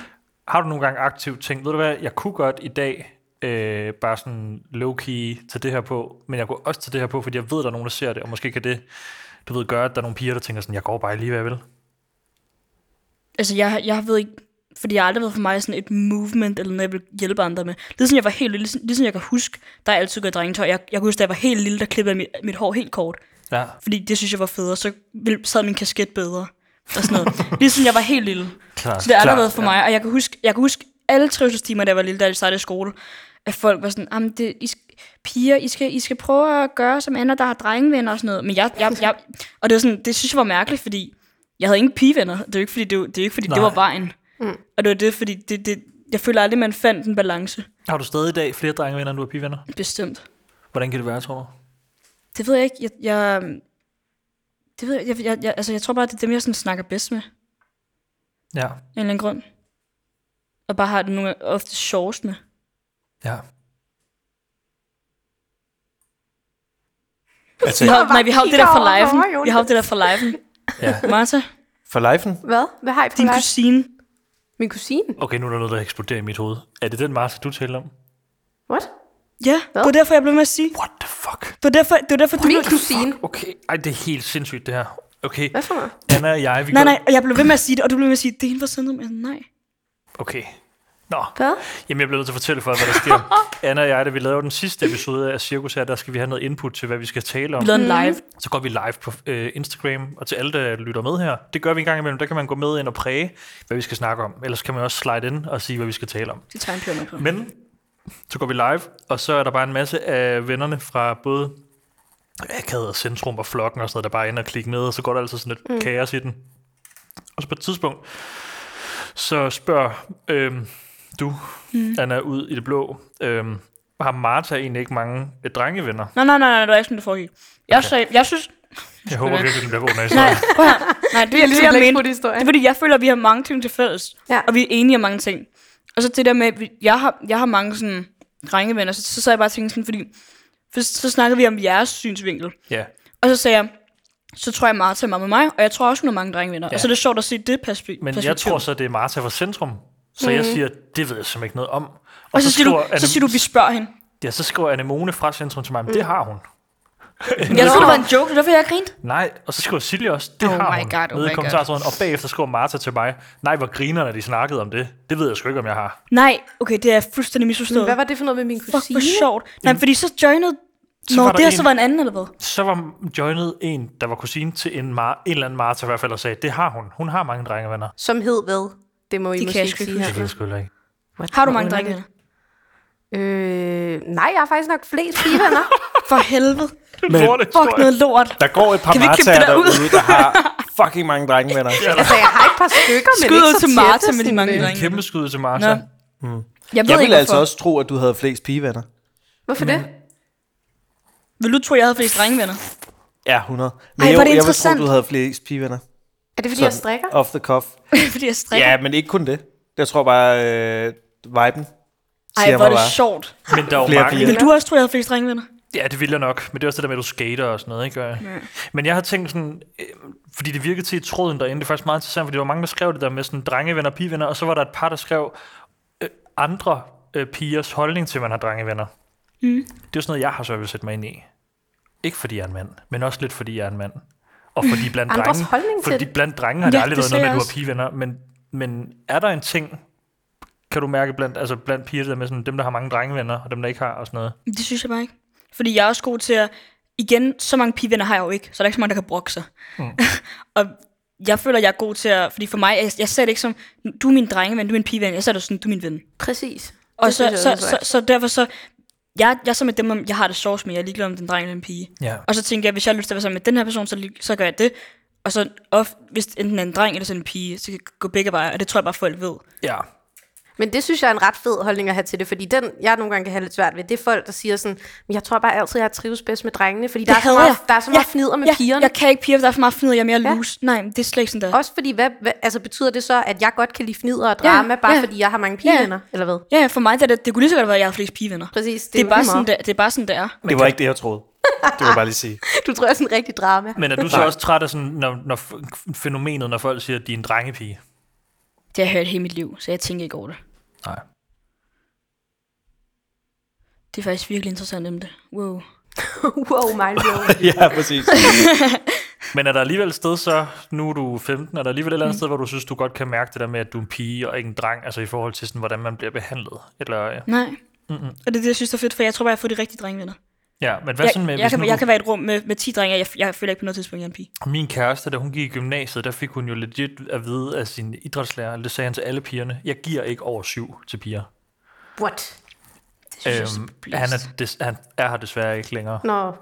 S2: Har du nogle gange aktivt tænkt, ved du hvad, jeg kunne godt i dag øh, bare sådan low-key tage det her på, men jeg kunne også tage det her på, fordi jeg ved, der er nogen, der ser det, og måske kan det, du ved, gøre, at der er nogle piger, der tænker sådan, jeg går bare lige, hvad jeg vil.
S4: Altså, jeg, jeg ved ikke, fordi jeg har aldrig været for mig sådan et movement, eller noget, jeg vil hjælpe andre med. Ligesom jeg var helt lille, ligesom, ligesom jeg kan huske, der er altid gået i drengetøj. Jeg, jeg kan huske, da jeg var helt lille, der klippede jeg mit, mit hår helt kort.
S2: Ja.
S4: Fordi det synes jeg var federe, så ville- sad min kasket bedre. Og sådan noget. ligesom jeg var helt lille.
S2: Klart,
S4: Så det har aldrig
S2: klart,
S4: været for mig, og jeg kan huske, jeg kan huske alle trivselstimer, da jeg var lille, da jeg startede i skole, at folk var sådan, "Jamen, det, I sk- piger, I skal, I skal prøve at gøre som andre, der har drengevenner og sådan noget. Men jeg, jeg, jeg, og det, var sådan, det synes jeg var mærkeligt, fordi jeg havde ingen pigevenner. Det er jo ikke, fordi det, var- det, er jo ikke, fordi det
S2: Nej.
S4: var vejen. Mm. Og det var det, fordi det, det, jeg føler aldrig, man fandt en balance.
S2: Har du stadig i dag flere drengevenner, end du har pigevenner?
S4: Bestemt.
S2: Hvordan kan det være, tror du?
S4: Det ved jeg ikke. Jeg, jeg, det ved jeg, jeg, jeg, jeg, altså, jeg tror bare, det er dem, jeg sådan snakker bedst med.
S2: Ja,
S4: af en eller anden grund. Og bare har det nogle gange ofte sjovest med.
S2: ja.
S6: Altså,
S4: Vi har, nej, vi har jo det der fra
S5: kigger over på mig,
S4: liven.
S5: Jonas.
S4: Vi har jo det der fra liven.
S2: Ja.
S4: Martha,
S6: For lifen?
S5: Hvad? Hvad har I på
S4: din
S5: dig?
S4: kusine.
S5: Min kusine?
S2: Okay, nu er der noget, der eksploderer i mit hoved. Er det den Martha, du taler om?
S5: What?
S4: Ja, det var derfor, jeg blev med at sige.
S2: What the fuck?
S4: Det var derfor, det var derfor du
S5: Min
S4: blev...
S5: kusine?
S2: Okay, ej, det er helt sindssygt, det her. Okay,
S5: Hvad for noget?
S2: Anna og jeg, vi
S4: Nej,
S2: går-
S4: nej, og jeg blev ved med at sige det, og du blev ved med at sige, det er hende fra Sendrum. Jeg sagde, nej.
S2: Okay. Nå,
S5: Hvad?
S2: jamen jeg bliver nødt til at fortælle for jer, hvad der sker. Anna og jeg, da vi lavede den sidste episode af Cirkus her, der skal vi have noget input til, hvad vi skal tale om.
S4: Vi lavede en live.
S2: Så går vi live på øh, Instagram, og til alle, der lytter med her, det gør vi en gang imellem, der kan man gå med ind og præge, hvad vi skal snakke om. Ellers kan man også slide ind og sige, hvad vi skal tale om.
S4: Det tager en pjørn på.
S2: Men så går vi live, og så er der bare en masse af vennerne fra både Akad og Centrum og Flokken og sådan noget, der bare er inde og klikke med, og så går der altid sådan lidt mm. kaos i den. Og så på et tidspunkt, så spørger øhm, du, mm. Anna, ud i det blå, øhm, har Martha egentlig ikke mange øh, drengevenner?
S4: Nej, nej, nej, nej, det var ikke sådan, det foregik. Jeg sagde, jeg synes...
S2: Jeg håber
S4: være.
S2: virkelig, den bliver god næste
S4: Nej,
S2: år.
S4: prøv her. Nej, det er
S5: lidt
S4: det, jeg
S5: blæk på
S4: mente.
S5: det historie.
S4: Det er fordi, jeg føler, at vi har mange ting til fælles.
S5: Ja.
S4: Og vi er enige om mange ting. Og så det der med, at vi- jeg har, jeg har mange sådan drengevenner, så, så sad jeg bare og tænkte sådan, fordi... For så, så snakkede vi om jeres synsvinkel.
S2: Ja.
S4: Og så sagde jeg, så tror jeg, Martha er meget med mig, og jeg tror også, hun har mange drengevenner. Ja. Og så er det sjovt at se det perspe- perspektiv.
S2: Men jeg tror så, det er Martha fra Centrum. Så jeg siger, det ved jeg simpelthen ikke noget om. Og,
S4: Mm. og så, så, siger du,
S2: skriver
S4: så
S2: Anne-
S4: siger du, vi Mm. spørger hende.
S2: Ja, så skriver Anemone fra Centrum til mig, men det har hun.
S4: Jeg troede, det var en joke, det er derfor, jeg grinte.
S2: Nej, og så skriver Silje også, det
S5: Oh
S2: har
S5: my
S2: hun.
S5: God, oh
S2: nede i
S5: my
S2: kommentartråden. Og bagefter skriver Martha til mig, nej, hvor grinerne de snakkede om det. Det ved jeg sgu ikke, om jeg har.
S4: Nej, okay, det er fuldstændig misforstået.
S5: Hvad var det for noget med min
S4: Fuck, hvor
S5: kusine?
S4: sjovt. Nej, fordi så joinede...
S2: Så
S4: Nå,
S2: var
S4: det
S2: der
S4: her
S2: en-
S4: så var en anden, eller hvad?
S2: Så var joinet en, der var kusine til en, mar- en eller anden Martha i hvert fald, og sagde, det har hun. Hun har mange drengevenner.
S5: Som hed hvad? Det må I
S4: Det
S5: måske
S4: kan jeg
S5: ikke
S4: sgu ikke
S5: sige
S2: Det ved
S5: her.
S2: jeg sgu heller ikke.
S4: Har du mange drengevenner?
S5: Øh, nej, jeg har faktisk nok flest pigevenner.
S4: For helvede.
S2: Men, Lorte,
S4: Fuck noget lort.
S6: Der går et par
S4: Kan vi ikke klippe
S6: Martaer
S4: det der ud?
S6: derude, der har fucking mange drengevenner.
S5: altså, jeg har et par stykker, men
S4: Skud
S5: ikke
S4: ud
S5: så
S4: til
S5: tætte
S4: Martha med de
S5: sådan,
S4: mange
S5: øh,
S4: drenge.
S2: Kæmpe skud til Martha.
S4: Nå. Jeg ved
S6: Jeg
S4: ikke,
S6: ville altså
S4: hvorfor.
S6: også tro, at du havde flest pigevenner.
S5: Hvorfor det?
S4: Vil du tro, jeg havde flest drengevenner?
S6: Ja, 100. Men
S4: Ej,
S6: jo,
S4: hvor er
S6: jeg
S4: det
S6: ville tro,
S4: interessant.
S6: du havde flest pigevenner.
S5: Er det, fordi jeg
S6: Sådan,
S5: strikker?
S6: Off the cuff.
S4: Fordi jeg strikker.
S6: Ja, men ikke kun det. Jeg tror bare, øh, viben siger
S4: Ej, hvor
S6: mig
S4: er det
S6: bare.
S4: sjovt.
S2: Men der var
S6: Flere
S2: mange,
S6: piger.
S4: Vil du også tro, jeg havde flest drengevenner?
S2: Ja, det ville jeg nok, men det er også det der med, at du skater og sådan noget, ikke? Og- Men jeg har tænkt sådan, øh, fordi det virkede til i tråden derinde, det er faktisk meget interessant, fordi der var mange, der skrev det der med sådan drengevenner og pigevenner, og så var der et par, der skrev øh, andre øh, pigers holdning til, at man har drengevenner. Mm. Det er jo sådan noget, jeg har så vil sætte mig ind i. Ikke fordi jeg er en mand, men også lidt fordi jeg er en mand. Og fordi blandt
S5: Andres
S2: drenge,
S5: holdning til
S2: fordi
S5: det.
S2: blandt drenge har det
S4: Ja,
S2: aldrig
S4: det
S2: været
S4: ser
S2: noget med,
S4: jeg
S2: at du har
S4: også.
S2: pigevenner, men, men er der en ting, kan du mærke blandt, altså blandt piger, det der med sådan, dem, der har mange drengevenner, og dem, der ikke har, og sådan noget?
S4: Det synes jeg bare ikke. Fordi jeg er også god til at... Igen, så mange pigevenner har jeg jo ikke, så der er ikke så mange, der kan brokke sig. Mm. og jeg føler, jeg er god til at... Fordi for mig, jeg, jeg ser det ikke som, du er min drengeven, du er min pigeven. Jeg ser det sådan, du er min ven.
S5: Præcis.
S4: Og
S5: Det
S4: så,
S5: synes jeg
S4: så,
S5: også
S4: så,
S5: er sejt.
S4: så, derfor så... Jeg, jeg er så med dem, om jeg har det sjovt med, jeg er ligeglad om den dreng eller en pige.
S2: Ja.
S4: Og så tænker jeg, hvis jeg har lyst til at være sammen med den her person, så, lig- så gør jeg det. Og så of, hvis enten er en dreng eller sådan en pige, så kan det gå begge veje, og det tror jeg bare, folk ved.
S2: Ja,
S5: Men det synes jeg er en ret fed holdning at have til det, fordi den, jeg nogle gange kan have lidt svært ved, det er folk, der siger sådan, "Men jeg tror bare altid, jeg trives bedst med drengene, fordi der er, så
S4: hader
S5: meget,
S4: jeg.
S5: der er så meget fnider med
S4: ja,
S5: pigerne.
S4: Jeg kan ikke piger, for der er for meget fnider, jeg er mere ja. loose. Nej, men det er slet ikke sådan der.
S5: Også fordi, hvad, hvad, altså betyder det så, at jeg godt kan lide fnider og drama,
S4: Ja,
S5: bare
S4: ja.
S5: fordi jeg har mange pigevenner, eller hvad?
S4: Ja, ja, for mig der, det, det kunne lige så godt være, at jeg har flest pigevenner.
S5: Præcis, det
S4: Det, det,
S5: er
S4: er bare
S5: lige
S4: sådan,
S5: meget.
S4: der, det er bare sådan, det er.
S6: Det var ikke det, jeg troede. Det vil jeg bare lige sige.
S5: Du tror, jeg er sådan en rigtig drama.
S2: Men er du så også træt af sådan, når, når f- fænomenet, når folk siger, at de er en drengepige?
S4: Det har jeg hørt hele mit liv, så jeg tænker ikke over det.
S2: Nej.
S4: Det er faktisk virkelig interessant, emne. Wow.
S5: wow, mind blown.
S6: ja, præcis.
S2: Men er der alligevel et sted så, nu er du 15, er der alligevel et eller andet sted, hvor du synes, du godt kan mærke det der med, at du er en pige og ikke en dreng, altså i forhold til sådan, hvordan man bliver behandlet? Eller, øh, ja.
S4: Nej. Mm-mm. Og det er det, jeg synes er fedt, for jeg tror bare, jeg får de rigtige drengevenner.
S2: ja, men hvad
S4: Jeg,
S2: sådan med,
S4: jeg,
S2: hvis
S4: kan,
S2: nu
S4: jeg
S2: du,
S4: kan være i et rum med, med 10 drenge, og jeg, jeg føler ikke på noget tidspunkt, jeg er en pige.
S2: min kæreste, da hun gik i gymnasiet, der fik hun jo legit at vide af sin idrætslærer, eller det sagde han til alle pigerne, jeg giver ikke over syv til piger.
S5: What?
S4: Det synes jeg
S2: Øhm,
S4: er
S2: han,
S4: han
S2: er des, han er her desværre ikke længere.
S5: Nå,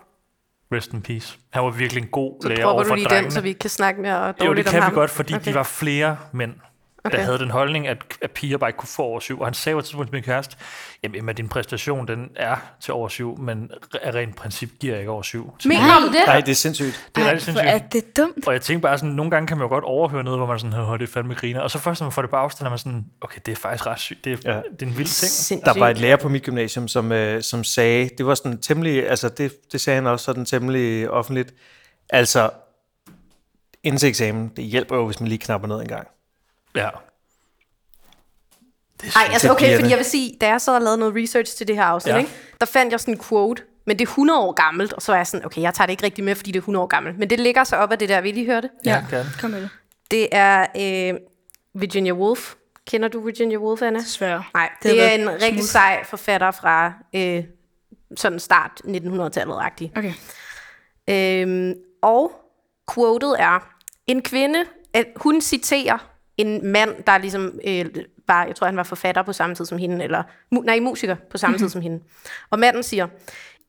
S2: Rest in peace. Han var virkelig en god
S5: så
S2: lærer
S5: dropper
S2: over
S5: du
S2: for
S5: lige
S2: drengene.
S5: den, så vi ikke kan snakke mere dårligt
S2: Jo, det
S5: om
S2: kan
S5: ham.
S2: vi godt, fordi okay.
S5: Okay.
S2: de var flere mænd, der
S5: Okay.
S2: havde den holdning, at, at piger bare ikke kunne få over syv. Og han sagde på et tidspunkt til min kæreste, jamen Emma, din præstation den er til over syv, men re- af rent princip giver jeg ikke over syv. Så
S5: Mener du det?
S6: Nej, det er sindssygt.
S2: det er rigtig
S4: for er
S2: sindssygt.
S4: det dumt?
S2: Og jeg tænkte bare sådan, nogle gange kan man jo godt overhøre noget, hvor man sådan, "Åh, det er fandme griner. Og så først, når man får det på afstand, er man sådan, okay, det er faktisk ret sygt. Det er, ja.
S6: Ja.
S2: det er en vild ting.
S6: Der var et lærer på mit gymnasium, som, øh, som sagde, det var sådan temmelig, altså det, det sagde han også sådan temmelig offentligt, altså inden til eksamen, det hjælper jo, hvis man lige knapper ned en gang.
S2: Ja.
S5: Nej, altså
S6: til
S5: okay,
S6: pigerne.
S5: fordi jeg vil sige, da jeg sad og lavede noget research til det her afsnit,
S2: Ja.
S5: ja. ikke, der fandt jeg sådan en quote, men det er 100 år gammelt, og så er jeg sådan, okay, jeg tager det ikke rigtig med, fordi det er 100 år gammelt, men det ligger så op af det der, vi lige hørte.
S4: Ja,
S2: gerne.
S4: kom med det.
S5: Det er øh, Virginia Woolf. Kender du Virginia Woolf, Anna?
S4: Desværre.
S5: Nej,
S4: Det
S5: det,
S4: har
S5: det er
S4: været
S5: en rigtig
S4: smooth.
S5: sej forfatter fra øh, sådan start 1900-tallet-agtig.
S4: Okay.
S5: Øhm, og quotet er, en kvinde, at hun citerer en mand, der ligesom øh, var, jeg tror han var forfatter på samme tid som hende, eller mu- nej, musiker på samme tid som hende. Og manden siger,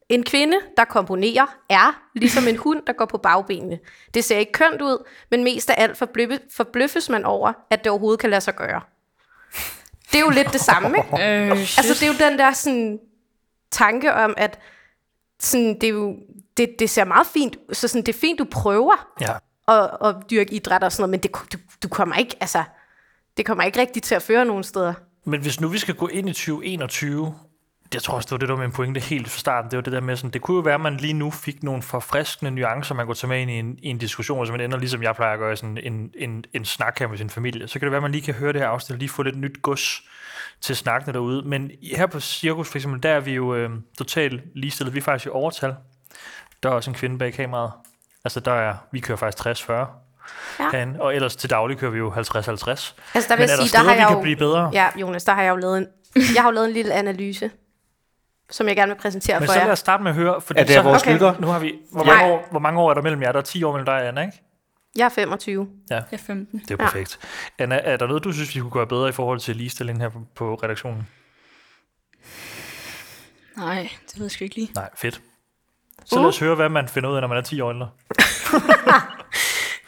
S5: en kvinde, der komponerer, er ligesom en hund, der går på bagbenene. Det ser ikke kønt ud, men mest af alt forbløffe, forbløffes man over, at det overhovedet kan lade sig gøre. Det er jo lidt det samme, ikke?
S4: Øh, shit.
S5: Altså, det er jo den der sådan, tanke om, at sådan, det, er jo, det, det ser meget fint, så sådan, det er fint, du prøver
S2: Ja.
S5: at, at dyrke idræt og sådan noget, men det, du, du kommer ikke, altså, det kommer ikke rigtigt til at føre nogen steder.
S2: Men hvis nu vi skal gå ind i 2021, Jeg tror også, det var det, der var min pointe helt fra starten. Det var det der med, sådan, det kunne jo være, at man lige nu fik nogle forfriskende nuancer, man kunne tage med ind i en, i en diskussion, og så man ender, ligesom jeg plejer at gøre, i sådan en, en, en snak her med sin familie. Så kan det være, at man lige kan høre det her afsnit, og lige få lidt nyt gods til snakkene derude. Men her på Cirkus, for eksempel, der er vi jo øh, totalt ligestillet. Vi er faktisk i overtal. Der er også en kvinde bag kameraet. Altså, der er, vi kører faktisk 60-40. Ja. Herinde. Og ellers til daglig kører vi jo 50-50. Altså,
S5: Altså, der vil
S2: Men er
S5: jeg
S2: der
S5: sige, der
S2: steder,
S5: har
S2: vi
S5: jeg
S2: kan
S5: jo,
S2: blive bedre?
S5: Ja, Jonas, der har jeg jo lavet en, jeg har jo lavet en lille analyse, som jeg gerne vil præsentere
S2: Men
S5: for
S2: så
S5: jer.
S2: lad os starte med at høre, fordi
S6: Er det
S2: så,
S6: af vores
S5: Okay.
S6: lytter?
S2: nu har vi, hvor
S5: Nej.
S2: mange, år, hvor mange år er der mellem jer? Der er 10 år mellem dig og Anna, ikke?
S5: Jeg er 25.
S4: Jeg er 15.
S2: Det er
S5: Ja.
S2: perfekt. Ja. Anna, er der noget, du synes, vi kunne gøre bedre i forhold til ligestillingen her på, på redaktionen?
S4: Nej, det ved jeg sgu ikke lige.
S2: Nej, fedt. Så lad os
S5: Uh.
S2: høre, hvad man finder ud af, når man er 10 år ældre.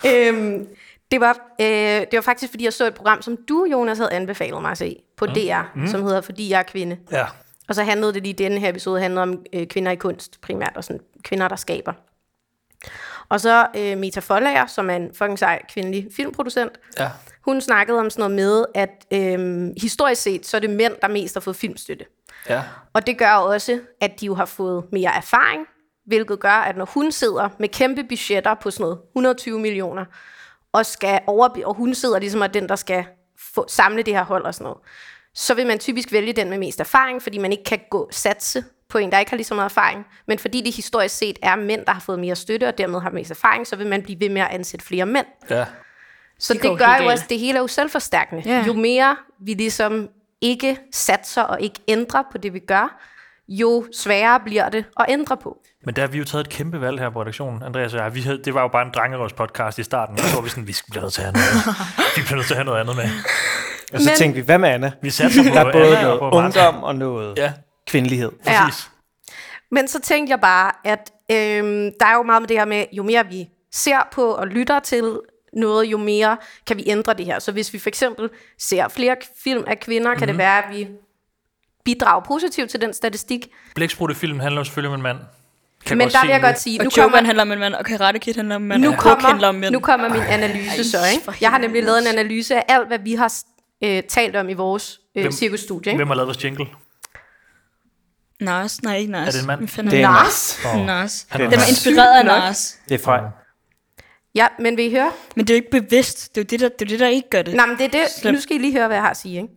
S5: Øhm, det, var, øh, det var faktisk, fordi jeg så et program, som du, Jonas, havde anbefalet mig at se på DR, mm. som hedder Fordi jeg er kvinde.
S2: Ja.
S5: Og så handlede det lige denne her episode handlede om øh, kvinder i kunst primært, og sådan kvinder, der skaber. Og så øh, Meta Follager, som er en fucking sej kvindelig filmproducent,
S2: Ja.
S5: hun snakkede om sådan noget med, at øh, historisk set, så er det mænd, der mest har fået filmstøtte.
S2: Ja.
S5: Og det gør også, at de jo har fået mere erfaring, hvilket gør, at når hun sidder med kæmpe budgetter på sådan noget 120 millioner, og, skal over, og hun sidder ligesom og er den, der skal få, samle det her hold og sådan noget, så vil man typisk vælge den med mest erfaring, fordi man ikke kan gå satse på en, der ikke har lige så meget erfaring. Men fordi det historisk set er mænd, der har fået mere støtte, og dermed har mest erfaring, så vil man blive ved med at ansætte flere mænd.
S2: Ja.
S5: Så
S4: Det
S5: det,
S4: går
S5: det gør
S4: helt
S5: jo
S4: galt.
S5: også, det hele er jo selvforstærkende.
S4: Ja.
S5: Jo mere vi ligesom ikke satser og ikke ændrer på det, vi gør, jo sværere bliver det at ændre på.
S2: Men der har vi jo taget et kæmpe valg her på redaktionen, Andreas og jeg. Vi havde, det var jo bare en drengerøvs podcast i starten, og så var vi sådan, vi bliver nødt til at have noget, vi bliver nødt til at have noget andet med.
S6: Og så
S5: Men-
S6: tænkte vi, hvad med Anna?
S2: Vi satte på
S6: Der er både
S2: Anna og
S6: noget
S2: på Martin.
S6: ungdom og noget
S2: Ja,
S6: kvindelighed.
S2: præcis. Ja.
S5: Men så tænkte jeg bare, at øhm, der er jo meget med det her med, jo mere vi ser på og lytter til noget, jo mere kan vi ændre det her. Så hvis vi for eksempel ser flere k- film af kvinder, mm-hmm. kan
S2: Mhm.
S5: det være, at vi bidrager positivt til den statistik.
S2: Blækspruttefilm handler jo selvfølgelig om en mand. Kan
S5: Men
S2: godt
S5: der
S2: se
S5: vil jeg
S2: det.
S5: godt sige,
S4: Og
S5: nu
S4: nu Joban
S5: kommer,
S4: handler om en mand, og Karate Kid handler om en mand,
S5: nu,
S4: og Coke handler om
S5: kommer,
S4: mænd.
S5: nu kommer min analyse så,
S4: for
S5: ikke? Jeg har nemlig lavet en analyse af alt, hvad vi har øh, talt om i vores
S2: Hvem-
S5: øh, cirkusstudie. Ikke?
S2: Hvem har lavet vores jingle?
S4: Nars, nej, ikke Nars.
S2: Er det en mand?
S4: Hvem fanden
S6: Det er
S4: er
S6: en-
S5: Lars?
S4: Nars? Nars.
S2: Han er
S4: Den var
S2: Nars.
S4: inspireret af
S5: Sygt nok.
S4: Nars.
S6: Det er fra.
S5: Ja, men vil I høre?
S4: Men det er jo ikke bevidst. Det er jo det, der, det er jo det, der ikke gør det.
S5: Nej, men det er det.
S4: Slem. Mm.
S5: Nu skal I lige høre, hvad jeg har at sige, ikke?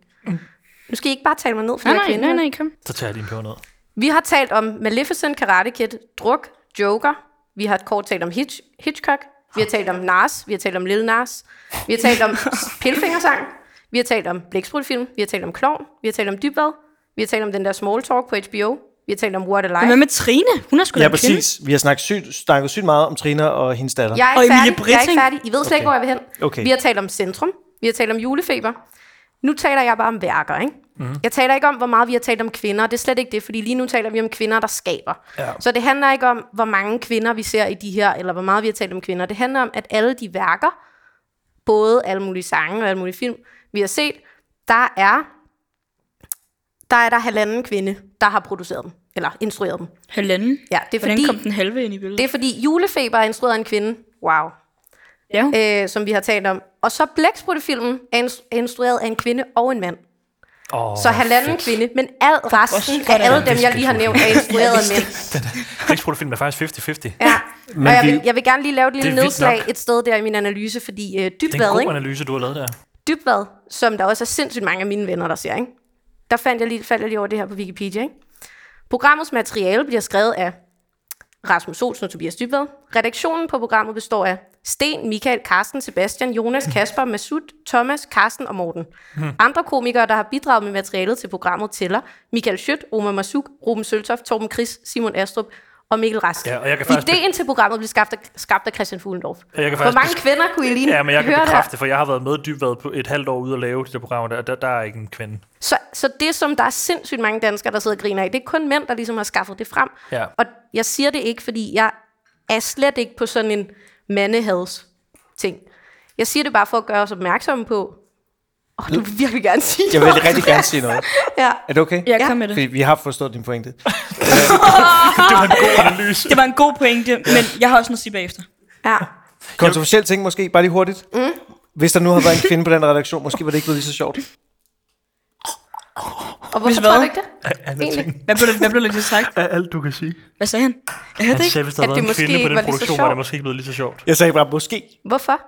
S5: Nu skal I ikke bare tale mig ned, for
S4: nej,
S5: jeg er
S4: nej,
S5: kvinde.
S4: nej, nej, kom.
S2: Så tager jeg din peber ned.
S5: Vi har talt om Maleficent, Karate Kid, Druk, Joker. Vi har kort talt om Hitch, Hitchcock. Vi har talt om Nars. Vi har talt om Lille Nars. Vi har talt om Pilfingersang. Vi har talt om Blæksprutfilm. Vi har talt om Klovn. Vi har talt om Dybvad. Vi har talt om den der small talk på HBO. Vi har talt om What a
S4: Men
S5: Life.
S4: hvad med Trine? Hun er sgu da
S6: Ja,
S4: en kvinde.
S6: præcis. Vi har snakket sygt, snakket sygt meget om Trina og hendes datter.
S5: Jeg er
S4: Og
S5: ikke
S4: Emilie
S5: færdig. Jeg er
S4: Britting.
S5: ikke færdig. I ved slet ikke, hvor jeg vil hen.
S6: Okay.
S5: Vi har talt om centrum. Vi har talt om julefeber. Nu taler jeg bare om værker, ikke?
S4: Mhm.
S5: Mm. Jeg taler ikke om, hvor meget vi har talt om kvinder. Det er slet ikke det, fordi lige nu taler vi om kvinder, der skaber. Ja. Så det handler ikke om, hvor mange kvinder vi ser i de her, eller hvor meget vi har talt om kvinder. Det handler om, at alle de værker, både alle mulige sange og alle mulige film, vi har set, der er der er der halvanden kvinde, der har produceret dem, eller instrueret dem.
S4: Halvanden.
S5: Ja, det er
S4: Hvordan
S5: fordi,
S4: kom den halve ind i billedet?
S5: det er fordi julefeber er instrueret af en kvinde. Wow
S4: ja.
S5: øh, som vi har talt om. Og så Blækspruttefilmen er ins- er instrueret af en kvinde og en mand.
S2: Oh,
S5: Så halvanden kvinde, men al resten
S4: sådan.
S5: af alle dem, jeg lige har nævnt, er instrueret af mænd.
S2: Blækspruttefilm er faktisk 50-50.
S5: Ja.
S6: Men
S5: Og jeg
S6: vi-
S5: vil, jeg vil gerne lige lave et
S2: Det
S5: lille
S2: er vildt
S5: nedslag
S2: nok.
S5: et sted der i min analyse, fordi
S2: Det
S5: øh,
S2: er en
S5: dybvad,
S2: god
S5: ikke?
S2: analyse, du har lavet der.
S5: dybvad, som der også er sindssygt mange af mine venner, der ser, ikke? Der fandt jeg lige, faldt jeg lige over det her på Wikipedia, ikke? Programmets materiale bliver skrevet af Rasmus Olsen og Tobias Dybvad. Redaktionen på programmet består af Sten, Michael, Karsten, Sebastian, Jonas, Kasper, Masud, Thomas, Karsten og Morten.
S2: Hmm.
S5: Andre komikere, der har bidraget med materialet til programmet, tæller Michael Schødt, Omar Masuk, Ruben Søltoft, Torben Chris, Simon Astrup og Mikkel Rask.
S2: Ja, og jeg kan faktisk be-
S5: Ideen til programmet blev skabt af, skabt af Christian Fuglendorf.
S2: Jeg kan
S5: Hvor
S2: faktisk
S5: mange
S2: bes-
S5: kvinder kunne I lige
S2: Ja, men jeg kan
S5: høre der?
S2: bekræfte, for jeg har været med dybt været på et halvt år ude at lave det der program, der, der, der er ikke en kvinde.
S5: Så, så det, som der er sindssygt mange danskere, der sidder og griner af, det er kun mænd, der ligesom har skaffet det frem.
S2: Ja.
S5: Og jeg siger det ikke, fordi jeg er slet ikke på sådan en mandehads ting. Jeg siger det bare for at gøre os opmærksomme på, åh, oh, du vil virkelig gerne sige
S6: Jeg vil
S5: noget.
S6: rigtig gerne sige noget.
S5: Ja.
S6: Er det okay?
S4: Ja, kom med det.
S6: Fordi vi har forstået din pointe.
S2: Det var en god analyse.
S4: Det var en god pointe, men jeg har også noget at sige bagefter.
S5: ja.
S6: Kontroversiel ting måske, bare lige hurtigt. Mm. Hvis der nu havde været en kvinde på den redaktion, måske var det ikke blevet lige så sjovt.
S5: Og hvorfor
S4: Hvis
S5: tror
S4: hvad?
S5: du ikke det?
S2: Andet
S5: Egentlig.
S2: ting
S4: Hvad blev, der, hvad blev der lige sagt?
S2: af alt, du kan sige.
S4: Hvad sagde han? Jeg hørte
S2: Han
S4: det ikke.
S2: sagde, hvis der havde været
S5: At det
S2: en
S5: måske
S2: kvinde
S5: ikke
S2: på den
S5: var lige så
S2: produktion, var det
S5: sjovt.
S2: måske ikke blevet lige så sjovt.
S6: Jeg sagde bare, måske.
S5: Hvorfor?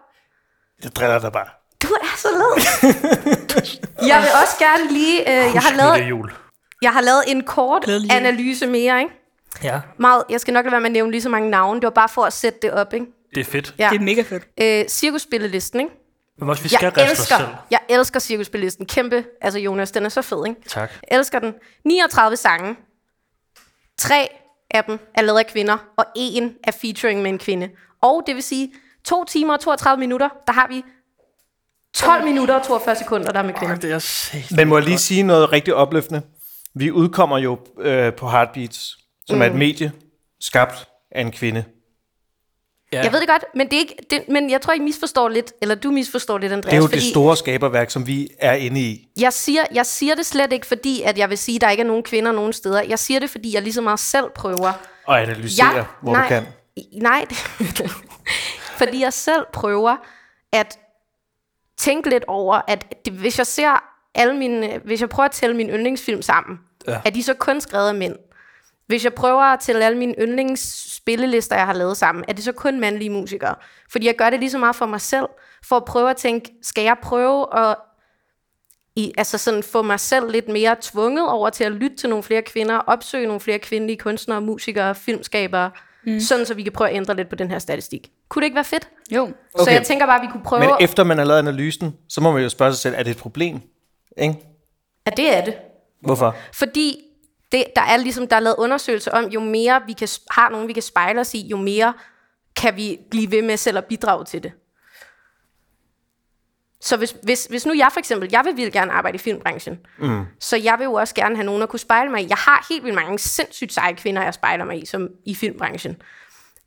S6: Jeg driller dig bare.
S5: Du er så led. jeg vil også gerne lige... Øh, jeg, har
S2: Husk lille
S5: lavet,
S2: jul.
S5: jeg har lavet en kort
S4: Glædelig jul.
S5: analyse mere, ikke?
S2: Ja,
S5: Meget, jeg skal nok lade være med at nævne lige så mange navne. Det var bare for at sætte det op, ikke?
S2: det er fedt.
S5: Ja.
S4: Det er mega fedt.
S5: Øh, cirkusspillelisten, ikke?
S2: Men også, vi skal
S5: Jeg
S2: riste os
S5: elsker,
S2: selv.
S5: jeg elsker cirkusspillelisten. Kæmpe. Altså, Jonas, den er så fed, ikke?
S2: Tak.
S5: Jeg elsker den. 39 sange. Tre af dem er lavet af kvinder, og en er featuring med en kvinde. Og det vil sige, to timer og 32 minutter, der har vi 12 minutter og 42 sekunder, der er med kvinder.
S2: Det er sæt.
S6: Men må jeg lige sige noget rigtig opløftende? Vi udkommer jo øh, på Heartbeats, som mm. er et medie skabt af en kvinde.
S2: Ja.
S5: Jeg ved det godt, men, det er ikke, det, men jeg tror, I misforstår lidt, eller du misforstår lidt, Andreas.
S6: Det er jo
S5: fordi
S6: det store skaberværk, som vi er inde i.
S5: jeg, siger, jeg siger det slet ikke, fordi at jeg vil sige, at der ikke er nogen kvinder nogen steder. Jeg siger det, fordi jeg lige så meget selv prøver
S6: Og analysere, ja, hvor
S5: nej,
S6: du kan.
S5: i- Nej, det- fordi jeg selv prøver at tænke lidt over, at det, hvis jeg ser alle mine, hvis jeg prøver at tælle mine yndlingsfilm sammen, ja. er de så kun skrevet af mænd? Hvis jeg prøver at tælle alle mine yndlingsspillelister, jeg har lavet sammen, er det så kun mandlige musikere? Fordi jeg gør det lige så meget for mig selv, for at prøve at tænke, skal jeg prøve at i, altså sådan få mig selv lidt mere tvunget over til at lytte til nogle flere kvinder, opsøge nogle flere kvindelige kunstnere, musikere, filmskabere, mm. sådan så vi kan prøve at ændre lidt på den her statistik. Kunne det ikke være fedt?
S4: Jo.
S5: Okay. Så
S6: Okay.
S5: jeg tænker bare, at vi kunne prøve...
S6: Men
S5: Men
S6: efter man har lavet analysen, så må man jo spørge sig selv, er det et problem? Ikke?
S5: at det er det.
S6: Hvorfor?
S5: Fordi det, der er ligesom, der er lavet undersøgelser om, jo mere vi kan, har nogen, vi kan spejle os i, jo mere kan vi blive ved med selv at bidrage til det. Så hvis, hvis, hvis nu jeg for eksempel, jeg vil vildt gerne arbejde i filmbranchen, mm. så jeg vil jo også gerne have nogen at kunne spejle mig i. Jeg har helt vildt mange sindssygt seje kvinder, jeg spejler mig i som i filmbranchen.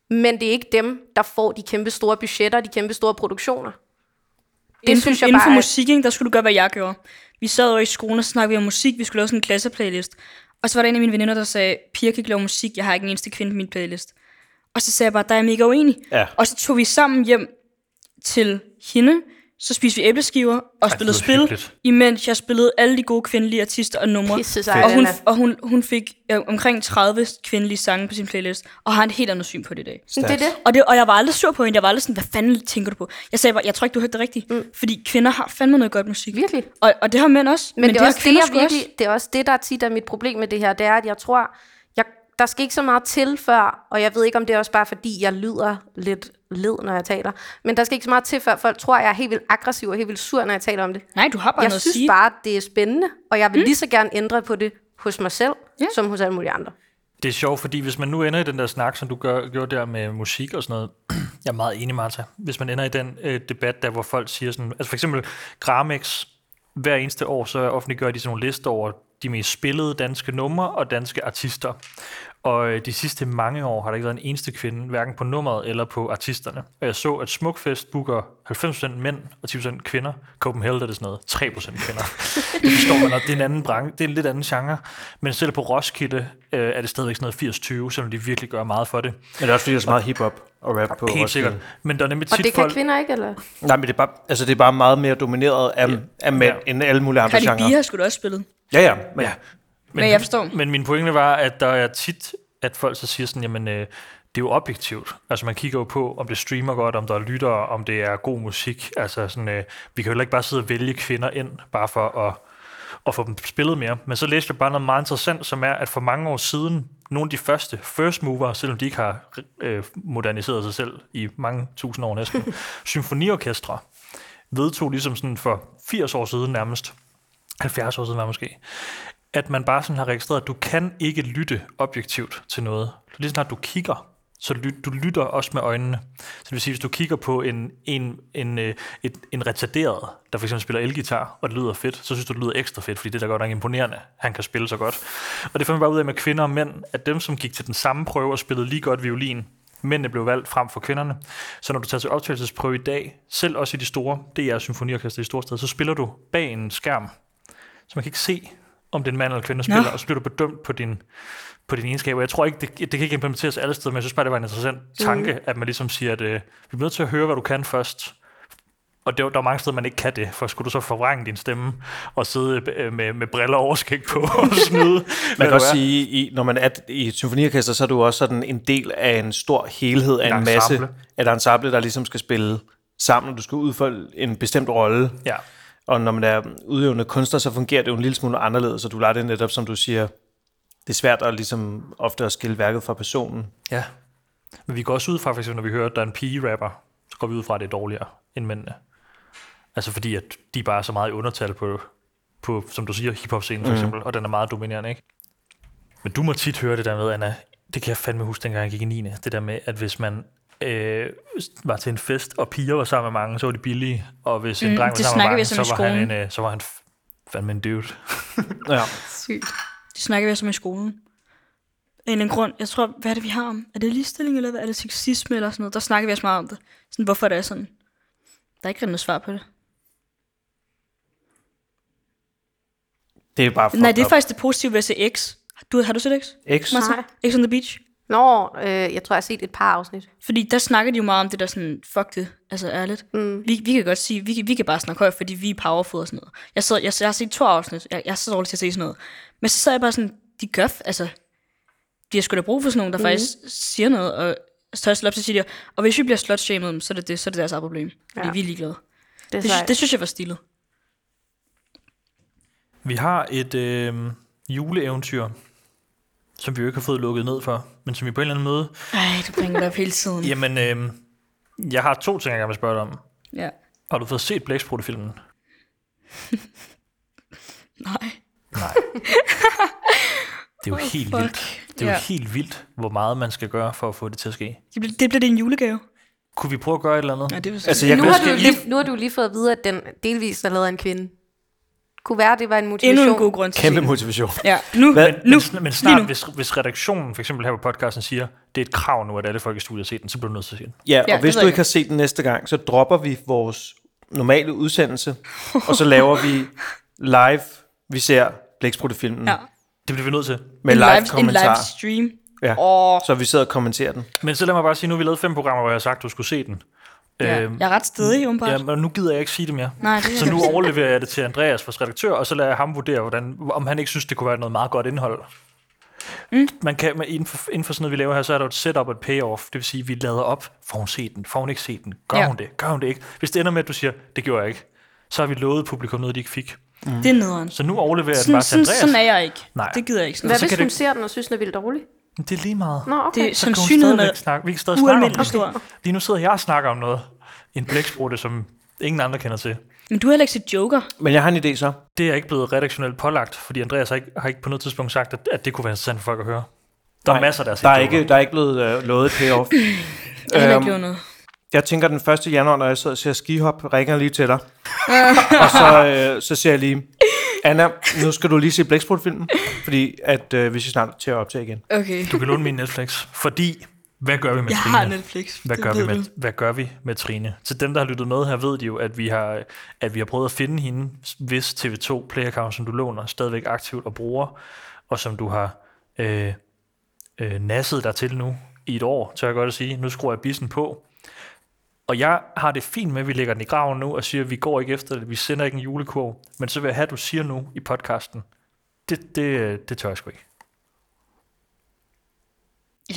S5: Men det er ikke dem, der får de kæmpe store budgetter, de kæmpe store produktioner. Det
S4: inden for,
S5: synes jeg
S4: inden for
S5: bare er-
S4: musik, ikke, der skulle du gøre, hvad jeg gjorde. Vi sad over i skolen og snakkede vi om musik. Vi skulle lave sådan en klasseplaylist. Og så var der en af mine veninder, der sagde, piger kan ikke lave musik. Jeg har ikke en eneste kvinde på min playlist. Og så sagde jeg bare, der er jeg mega uenig.
S6: Ja.
S4: Og så tog vi sammen hjem til hende. Så spiste vi æbleskiver og spillede spil,
S2: hyggeligt.
S4: imens jeg spillede alle de gode kvindelige artister og numre.
S5: Pisse sig,
S4: og hun,
S5: Lena.
S4: og hun, hun fik øh, omkring 30 kvindelige sange på sin playlist, og har et helt andet syn på det i dag.
S5: Men Det er det.
S4: Og, det, og jeg var aldrig sur på hende. Jeg var aldrig sådan, hvad fanden tænker du på? Jeg sagde bare, jeg tror ikke, du hørte det rigtigt. Mm. Fordi kvinder har fandme noget godt musik.
S5: Virkelig.
S4: Og, og det har mænd også.
S5: Men, men det, er
S4: har
S5: også det,
S4: kvinder
S5: jeg
S4: sgu
S5: virkelig, det er også det, der tit er mit problem med det her. Det er, at jeg tror, jeg, der skal ikke så meget til før, og jeg ved ikke, om det er også bare fordi, jeg lyder lidt led, når jeg taler. Men der skal ikke så meget til, før folk tror, jeg er helt vildt aggressiv og helt vildt sur, når jeg taler om det.
S4: Nej, du har bare
S5: Jeg
S4: noget
S5: synes
S4: at sige.
S5: bare, det er spændende, og jeg vil mm. lige så gerne ændre på det hos mig selv,
S4: Ja.
S5: yeah. som hos alle mulige andre.
S2: Det er sjovt, fordi hvis man nu ender i den der snak, som du gør, gjorde der med musik og sådan noget, jeg er meget enig, Martha, hvis man ender i den øh, debat der, hvor folk siger sådan, altså for eksempel Gramex, hver eneste år, så offentliggør de sådan nogle lister over de mest spillede danske numre og danske artister. Og øh, de sidste mange år har der ikke været en eneste kvinde, hverken på nummeret eller på artisterne. Og jeg så, at Smukfest booker 90% mænd og 10% kvinder. Copenhagen er det sådan noget 3% kvinder. det forstår man, og det er en anden branche, det er en lidt anden genre. Men selv på Roskilde øh, er det stadigvæk sådan noget 80-20, selvom de virkelig gør meget for det.
S6: Men det er også fordi, der er så meget hip-hop og rap på
S2: Helt sikkert.
S6: Roskilde.
S2: Men der er nemlig
S5: Og
S2: tit
S5: det kan
S2: folk...
S5: kvinder ikke, eller?
S6: Nej, men det er, bare, altså, det er bare meget mere domineret af, ja. af mænd,
S2: Ja.
S6: ja. end alle mulige andre
S4: Cardi B
S6: genrer.
S4: har sgu da også spillet.
S6: Ja, ja. Men, ja.
S4: Men jeg forstår.
S2: Men min pointe var, at der er tit, at folk så siger sådan, jamen, øh, det er jo objektivt. Altså, man kigger jo på, om det streamer godt, om der er lyttere, om det er god musik. Altså, sådan, øh, vi kan jo heller ikke bare sidde og vælge kvinder ind, bare for at, at få dem spillet mere. Men så læste jeg bare noget meget interessant, som er, at for mange år siden, nogle af de første first mover, selvom de ikke har øh, moderniseret sig selv i mange tusind år næsten, symfoniorkestre vedtog ligesom sådan for 80 år siden nærmest, 70 år siden var måske, at man bare sådan har registreret, at du kan ikke lytte objektivt til noget. Så lige snart du kigger, så lyt, du lytter også med øjnene. Så det vil sige, hvis du kigger på en, en, en, øh, et, en retarderet, der for eksempel spiller elgitar, og det lyder fedt, så synes du, det lyder ekstra fedt, fordi det er da godt nok imponerende, han kan spille så godt. Og det fandt man bare ud af med kvinder og mænd, at dem, som gik til den samme prøve og spillede lige godt violin, mændene blev valgt frem for kvinderne. Så når du tager til optagelsesprøve i dag, selv også i de store DR Symfoniorkester i de store steder, så spiller du bag en skærm, så man kan ikke se, om det er en mand eller en kvinde, der spiller, og så bliver du bedømt på din på dine egenskaber. Jeg tror ikke, det, det kan ikke implementeres alle steder, men jeg synes bare, det var en interessant tanke, mm. at man ligesom siger, at øh, vi bliver nødt til at høre, hvad du kan først, Og det, der er mange steder, man ikke kan det, for skulle du så forvrænge din stemme og sidde øh, med, med briller og overskæg på og snyde?
S6: Man kan også sige, i, når man er i et symfoniorkester, så er du også sådan en del af en stor helhed af
S2: Et
S6: en, masse
S2: ensemble.
S6: af et ensemble, der ligesom skal spille sammen, og du skal udføre en bestemt rolle.
S2: Ja.
S6: Og når man er udøvende kunstner, så fungerer det jo en lille smule anderledes, og du lader det netop, som du siger, det er svært at ligesom ofte at skille værket fra personen.
S2: ja. Men vi går også ud fra, for eksempel, når vi hører, at der er en pige-rapper, så går vi ud fra, at det er dårligere end mændene. Altså fordi, at de bare er så meget i undertal på, på som du siger, hiphop-scenen for eksempel, og den er meget dominerende, ikke? Men du må tit høre det der med, Anna, det kan jeg fandme huske, dengang jeg gik i 9. Det der med, at hvis man øh, var til en fest, og piger var sammen med mange, så var de billige. Og hvis en
S4: Mm,
S2: dreng var
S4: det
S2: sammen med
S4: snakker
S2: mange,
S4: vi som
S2: så
S4: i
S2: var, han en,
S4: skolen.
S2: øh, så var han f- fandme en dude.
S6: Ja.
S5: Sygt.
S4: Det snakker vi også om i skolen. Af en eller anden grund. Jeg tror, hvad er det, vi har om? Er det ligestilling, eller hvad? Er det sexisme, eller sådan noget? Der snakker vi også meget om det. Sådan, hvorfor det er sådan. Der er ikke rigtig noget svar på det.
S6: Det er bare fucked
S4: Nej, det er
S6: up.
S4: faktisk det positive ved at se X. Du, har du set X?
S6: X.
S4: Martin?
S5: Nej.
S4: X on the Beach?
S5: Nå, øh, jeg tror, jeg har set et par afsnit.
S4: Fordi der snakker de jo meget om det der sådan, fuck det, altså ærligt. Mm. Vi, vi kan godt sige, vi, kan- vi kan bare snakke højt, fordi vi er powerful og sådan noget. Jeg, sad, jeg, jeg har set to afsnit, jeg, jeg er så dårlig til at se sådan noget. Men så sad jeg bare sådan, de gør, f- altså, de har sgu da brug for sådan nogen, der mm. faktisk siger noget, og så op, så siger de, og hvis vi bliver slot så er det, det, så er det deres eget problem. Fordi
S5: Ja.
S4: ja. vi er ligeglade.
S5: Det er
S4: Det, sy-
S5: sejt.
S4: det synes jeg var stilet.
S2: Vi har et øh, juleeventyr, som vi jo ikke har fået lukket ned for, men som vi på en eller anden måde...
S4: Ej, du bringer det op hele tiden. ja.
S2: Jamen, øh, jeg har to ting, jeg gerne vil spørge dig om.
S4: ja.
S2: Har du fået set Blæksprutte-filmen?
S4: Nej.
S2: Det er jo helt
S4: fuck.
S2: vildt. Det er jo
S4: Ja.
S2: helt vildt, hvor meget man skal gøre for at få det til at ske.
S4: Det blev, det blev din julegave.
S2: Kunne vi prøve at gøre et eller andet?
S4: Ja, det var så.
S6: Altså, jeg
S5: nu,
S6: kan
S5: har
S6: huske,
S5: du jo
S6: I-
S5: lige, nu har du lige fået at vide, at den delvis er lavet af en kvinde. Kunne være, det var en motivation.
S4: Endnu en god grund til at
S6: kæmpe
S4: se den.
S6: motivation.
S4: Ja, nu,
S6: Hvad?
S2: Men,
S4: nu,
S2: men, men
S4: lige
S2: snart,
S4: nu.
S2: hvis, hvis redaktionen for eksempel her på podcasten siger, det er et krav nu, at alle folk i studiet har set den, så bliver du nødt til at se den.
S6: Ja,
S4: Ja,
S6: og
S4: det
S6: hvis
S4: ved
S6: du
S4: jeg
S6: ikke
S4: godt.
S6: har set den næste gang, så dropper vi vores normale udsendelse, og så laver vi live, vi ser Blæksprutte-filmen
S4: Ja.
S6: ja.
S2: Det bliver vi nødt til.
S6: med
S4: en
S6: live,
S4: live, en
S6: kommentar.
S4: live stream.
S6: ja.
S4: Åh.
S6: Så vi sidder og kommenterer den.
S2: Men så lad mig bare sige, nu har vi lavet fem programmer, hvor jeg har sagt, du skulle se den.
S4: Ja.
S2: Øhm,
S4: jeg er ret stedig, åbenbart.
S2: ja, men nu gider jeg ikke sige det mere.
S4: Nej, det er
S2: så
S4: jeg
S2: nu
S4: godt.
S2: overleverer jeg det til Andreas, vores redaktør, og så lader jeg ham vurdere, hvordan, om han ikke synes, det kunne være noget meget godt indhold. Mm. Man kan, man, inden, for, inden for sådan noget, vi laver her, så er der jo et setup og et payoff. Det vil sige, vi lader op. Får hun set den? Får hun ikke set den? Gør
S4: Ja.
S2: ja. hun det? Gør hun det ikke? Hvis det ender med, at du siger, det gjorde jeg ikke, så har vi lovet publikum noget, de ikke fik.
S4: Det er nederen.
S2: Så nu overleverer jeg den
S4: Sådan,
S2: bare til
S4: sådan,
S2: Andreas.
S4: sådan er jeg ikke.
S2: Nej.
S4: Det gider jeg ikke. Sådan
S5: Hvad
S4: noget.
S2: så
S5: hvis
S2: kan
S5: hun
S2: det-
S5: ser den og synes, den er vildt dårlig?
S2: Men Det er lige meget.
S5: Nå, okay.
S4: Det,
S5: Det...
S2: Så kan hun
S4: sandsynligheden er
S2: stadigvæk snakke. Vi kan stadig snakke om
S4: ualmindelig
S2: det.
S4: stor.
S2: Lige nu sidder jeg og snakker om noget. En blæksprutte, som ingen andre kender til.
S4: Men du har heller ikke set Joker.
S6: Men jeg har en idé så.
S2: Det er ikke blevet redaktionelt pålagt, fordi Andreas har ikke, har ikke på noget tidspunkt sagt, at, at det kunne være interessant for folk at høre. Der er masser, der har set
S6: Der er,
S2: Joker.
S6: ikke, der er ikke blevet øh, lovet et payoff.
S4: Jeg har
S6: Øhm,
S4: ikke lavet noget.
S6: Jeg tænker, den 1. januar, når jeg sidder og ser skihop, ringer jeg lige til dig. og så, øh, så ser jeg lige, Anna, nu skal du lige se Blæksprutte-filmen, fordi at, øh, vi skal snart til at optage igen.
S4: Okay.
S2: Du kan låne min Netflix, fordi hvad gør vi med
S4: Jeg
S2: Trine?
S4: har Netflix.
S2: Hvad
S4: Det
S2: gør, vi
S4: ved
S2: med,
S4: du.
S2: hvad gør vi med Trine? Til dem, der har lyttet med her, ved de jo, at vi har, at vi har prøvet at finde hende, hvis TV2 Play Account, som du låner, stadigvæk aktivt og bruger, og som du har øh, øh, nasset dig til nu i et år, tør jeg godt at sige. Nu skruer jeg bissen på. Og jeg har det fint med, at vi lægger den i graven nu og siger, at vi går ikke efter det, vi sender ikke en julekurv, men så vil jeg have, at du siger nu i podcasten, det, det, det tør jeg sgu ikke.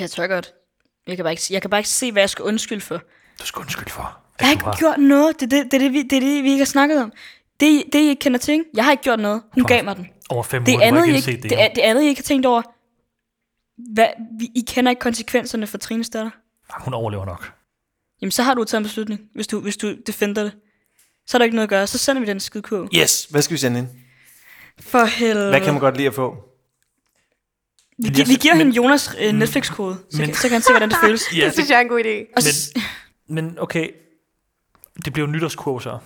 S4: Jeg tør godt. Jeg kan, bare ikke, jeg kan bare ikke se, hvad jeg skal undskylde for.
S2: Du skal undskylde for,
S4: Jeg har
S2: at du
S4: ikke
S2: har
S4: gjort noget. Det er det, det, er det, vi, det, er det, vi ikke har snakket om. Det, I- det I ikke kender til, ikke? jeg har ikke gjort noget. Hun gav mig den.
S2: over fem
S4: Det
S2: måneder
S4: andet, I
S2: ikke
S4: ikke,
S2: set det.
S4: det, er- det andet, I ikke har tænkt over, hvad, vi, I kender ikke konsekvenserne for Trines datter.
S2: endnu. Hun overlever nok.
S4: Jamen, så har du taget en beslutning, hvis du, hvis du defender det. Så er der ikke noget at gøre. Så sender vi den skide kurv.
S6: Yes, hvad skal vi sende ind?
S4: For helvede.
S6: Hvad kan man godt lide at få?
S4: Vi,
S2: Men
S4: gi-
S2: jeg
S4: vi
S2: sy-
S4: giver
S2: men-
S4: hende Jonas øh, Netflix-kode, så,
S2: men-
S4: kan, så kan han se, hvordan det føles.
S2: Ja,
S5: det synes jeg er en god idé.
S4: Og så,
S2: men- Men okay, det bliver jo nytårskurv så.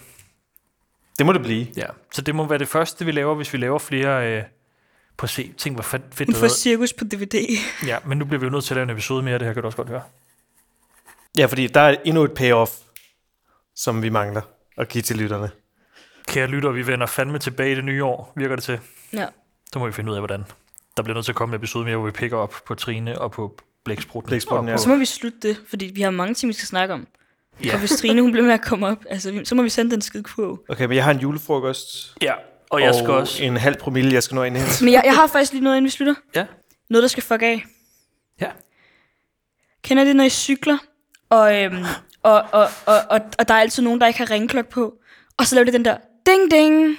S6: Det må det blive.
S2: Ja. Så det må være det første, vi laver, hvis vi laver flere... Øh, på se, tænk hvor fedt, fedt
S4: hun
S2: det
S4: får
S2: har
S4: cirkus på DVD.
S2: været. Ja, men nu bliver vi jo nødt til at lave en episode mere, det her kan du også godt høre.
S6: Ja, fordi der er endnu et payoff, som vi mangler at give til lytterne.
S2: Kære lytter, vi vender fandme tilbage i det nye år, virker det til.
S4: Ja.
S2: Så må vi finde ud af, hvordan. Der bliver nødt til at komme en episode mere, hvor vi picker op på Trine og på Blæksprutten.
S6: Blæksprutten,
S2: og
S6: ja.
S2: på-
S4: Så må vi slutte det, fordi vi har mange ting, vi skal snakke om. Ja. Og hvis Trine, hun bliver med at komme op, altså, så må vi sende den skide kurv.
S6: Okay, men jeg har en julefrokost.
S2: Ja, og jeg skal også...
S6: en halv promille, jeg skal nå ind her.
S4: Men jeg, jeg har faktisk lige noget, inden vi slutter.
S2: Ja,
S4: Noget, der skal fuck af.
S2: ja.
S4: Kender det, når I cykler, og, øhm, og, og, og, og, og der er altid nogen, der ikke har ringklok på, og så laver det den der ding ding.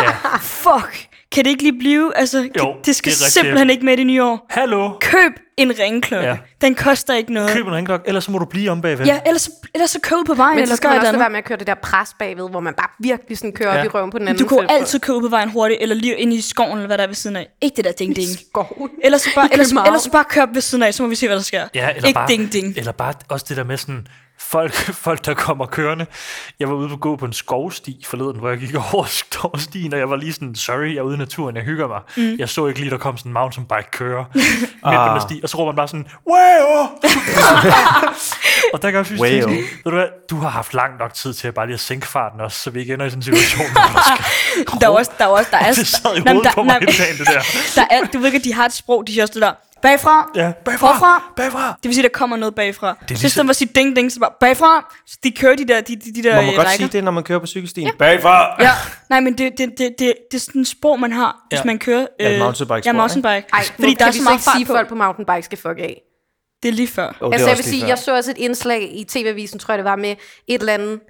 S2: Ja.
S4: Fuck, kan det ikke lige blive? Altså, jo, kan, det skal
S2: det er
S4: det
S2: rigtigt.
S4: simpelthen ikke med i det nye år.
S2: Hallo,
S4: Køb en ringklokke.
S2: Ja.
S4: Ja. Den koster ikke noget.
S2: køb en ringklok, ellers så må du blive om bagved.
S4: Ja, ellers, ellers så køb på vejen,
S5: Men så
S4: eller
S5: skal
S4: gør
S5: man
S4: et
S5: også lade
S4: eller
S5: være
S4: andet.
S5: med at køre det der pres bagved, hvor man bare virkelig sådan kører ja.
S6: Ja.
S5: op i røven på den anden.
S4: Du kan jo
S5: selv.
S4: altid købe på vejen hurtigt, eller lige ind i skoven, eller hvad der er ved siden af. Ikke det der ding ding.
S5: Skoven.
S4: Ellers så bare,
S5: I
S4: ellers,
S5: København.
S4: ellers så bare kør op ved siden af, så må vi se, hvad der sker.
S2: Ja, eller
S4: ikke
S2: bare,
S4: ding ding.
S2: Eller bare også det der med sådan, folk, folk der kommer kørende. Jeg var ude på gå på en skovsti forleden, hvor jeg gik over skovstien, og jeg var lige sådan, sorry, jeg er ude i naturen, jeg hygger mig. Mm. Jeg så ikke lige, der kom sådan en mountainbike kører midt på den der sti, og så råber man bare sådan, wow! og der kan jeg synes,
S6: Wow.
S2: wow. ved du hvad, du har haft lang nok tid til at bare lige at sænke farten også, så vi ikke ender i sådan en situation, hvor man skal
S4: Der er også, der er også, der er,
S2: det sad i
S4: Nå, men
S2: hovedet
S4: der-
S2: på mig
S4: nå,
S2: hele dagen, det der.
S4: der er, du ved ikke, at de har et sprog, de siger også det der, bagfra,
S2: Ja, bagfra,
S4: forfra.
S2: bagfra.
S4: Det vil sige, der kommer noget bagfra. Det er
S2: ligesom-
S4: ligesom... Så var sige ding ding, så bare bagfra. Så de kører de der, de, de, de der
S6: Man må
S4: øh,
S6: godt
S4: rækker.
S6: sige det, når man kører på cykelstien. Ja. Bagfra!
S4: Ja, nej, men det, det, det, det, det er sådan en sprog, man har, hvis
S2: Ja.
S4: man kører... Øh,
S6: et mountainbike-spor,
S4: Ja,
S6: ikke?
S4: mountainbike.
S5: Ej,
S4: fordi der er så meget
S5: ikke sige,
S4: fart
S5: at
S4: på.
S5: folk på mountainbike skal fuck af.
S4: Det er lige før.
S6: Oh,
S5: altså, jeg vil sige, jeg så også et indslag i TV-avisen, tror jeg det var, med et eller andet,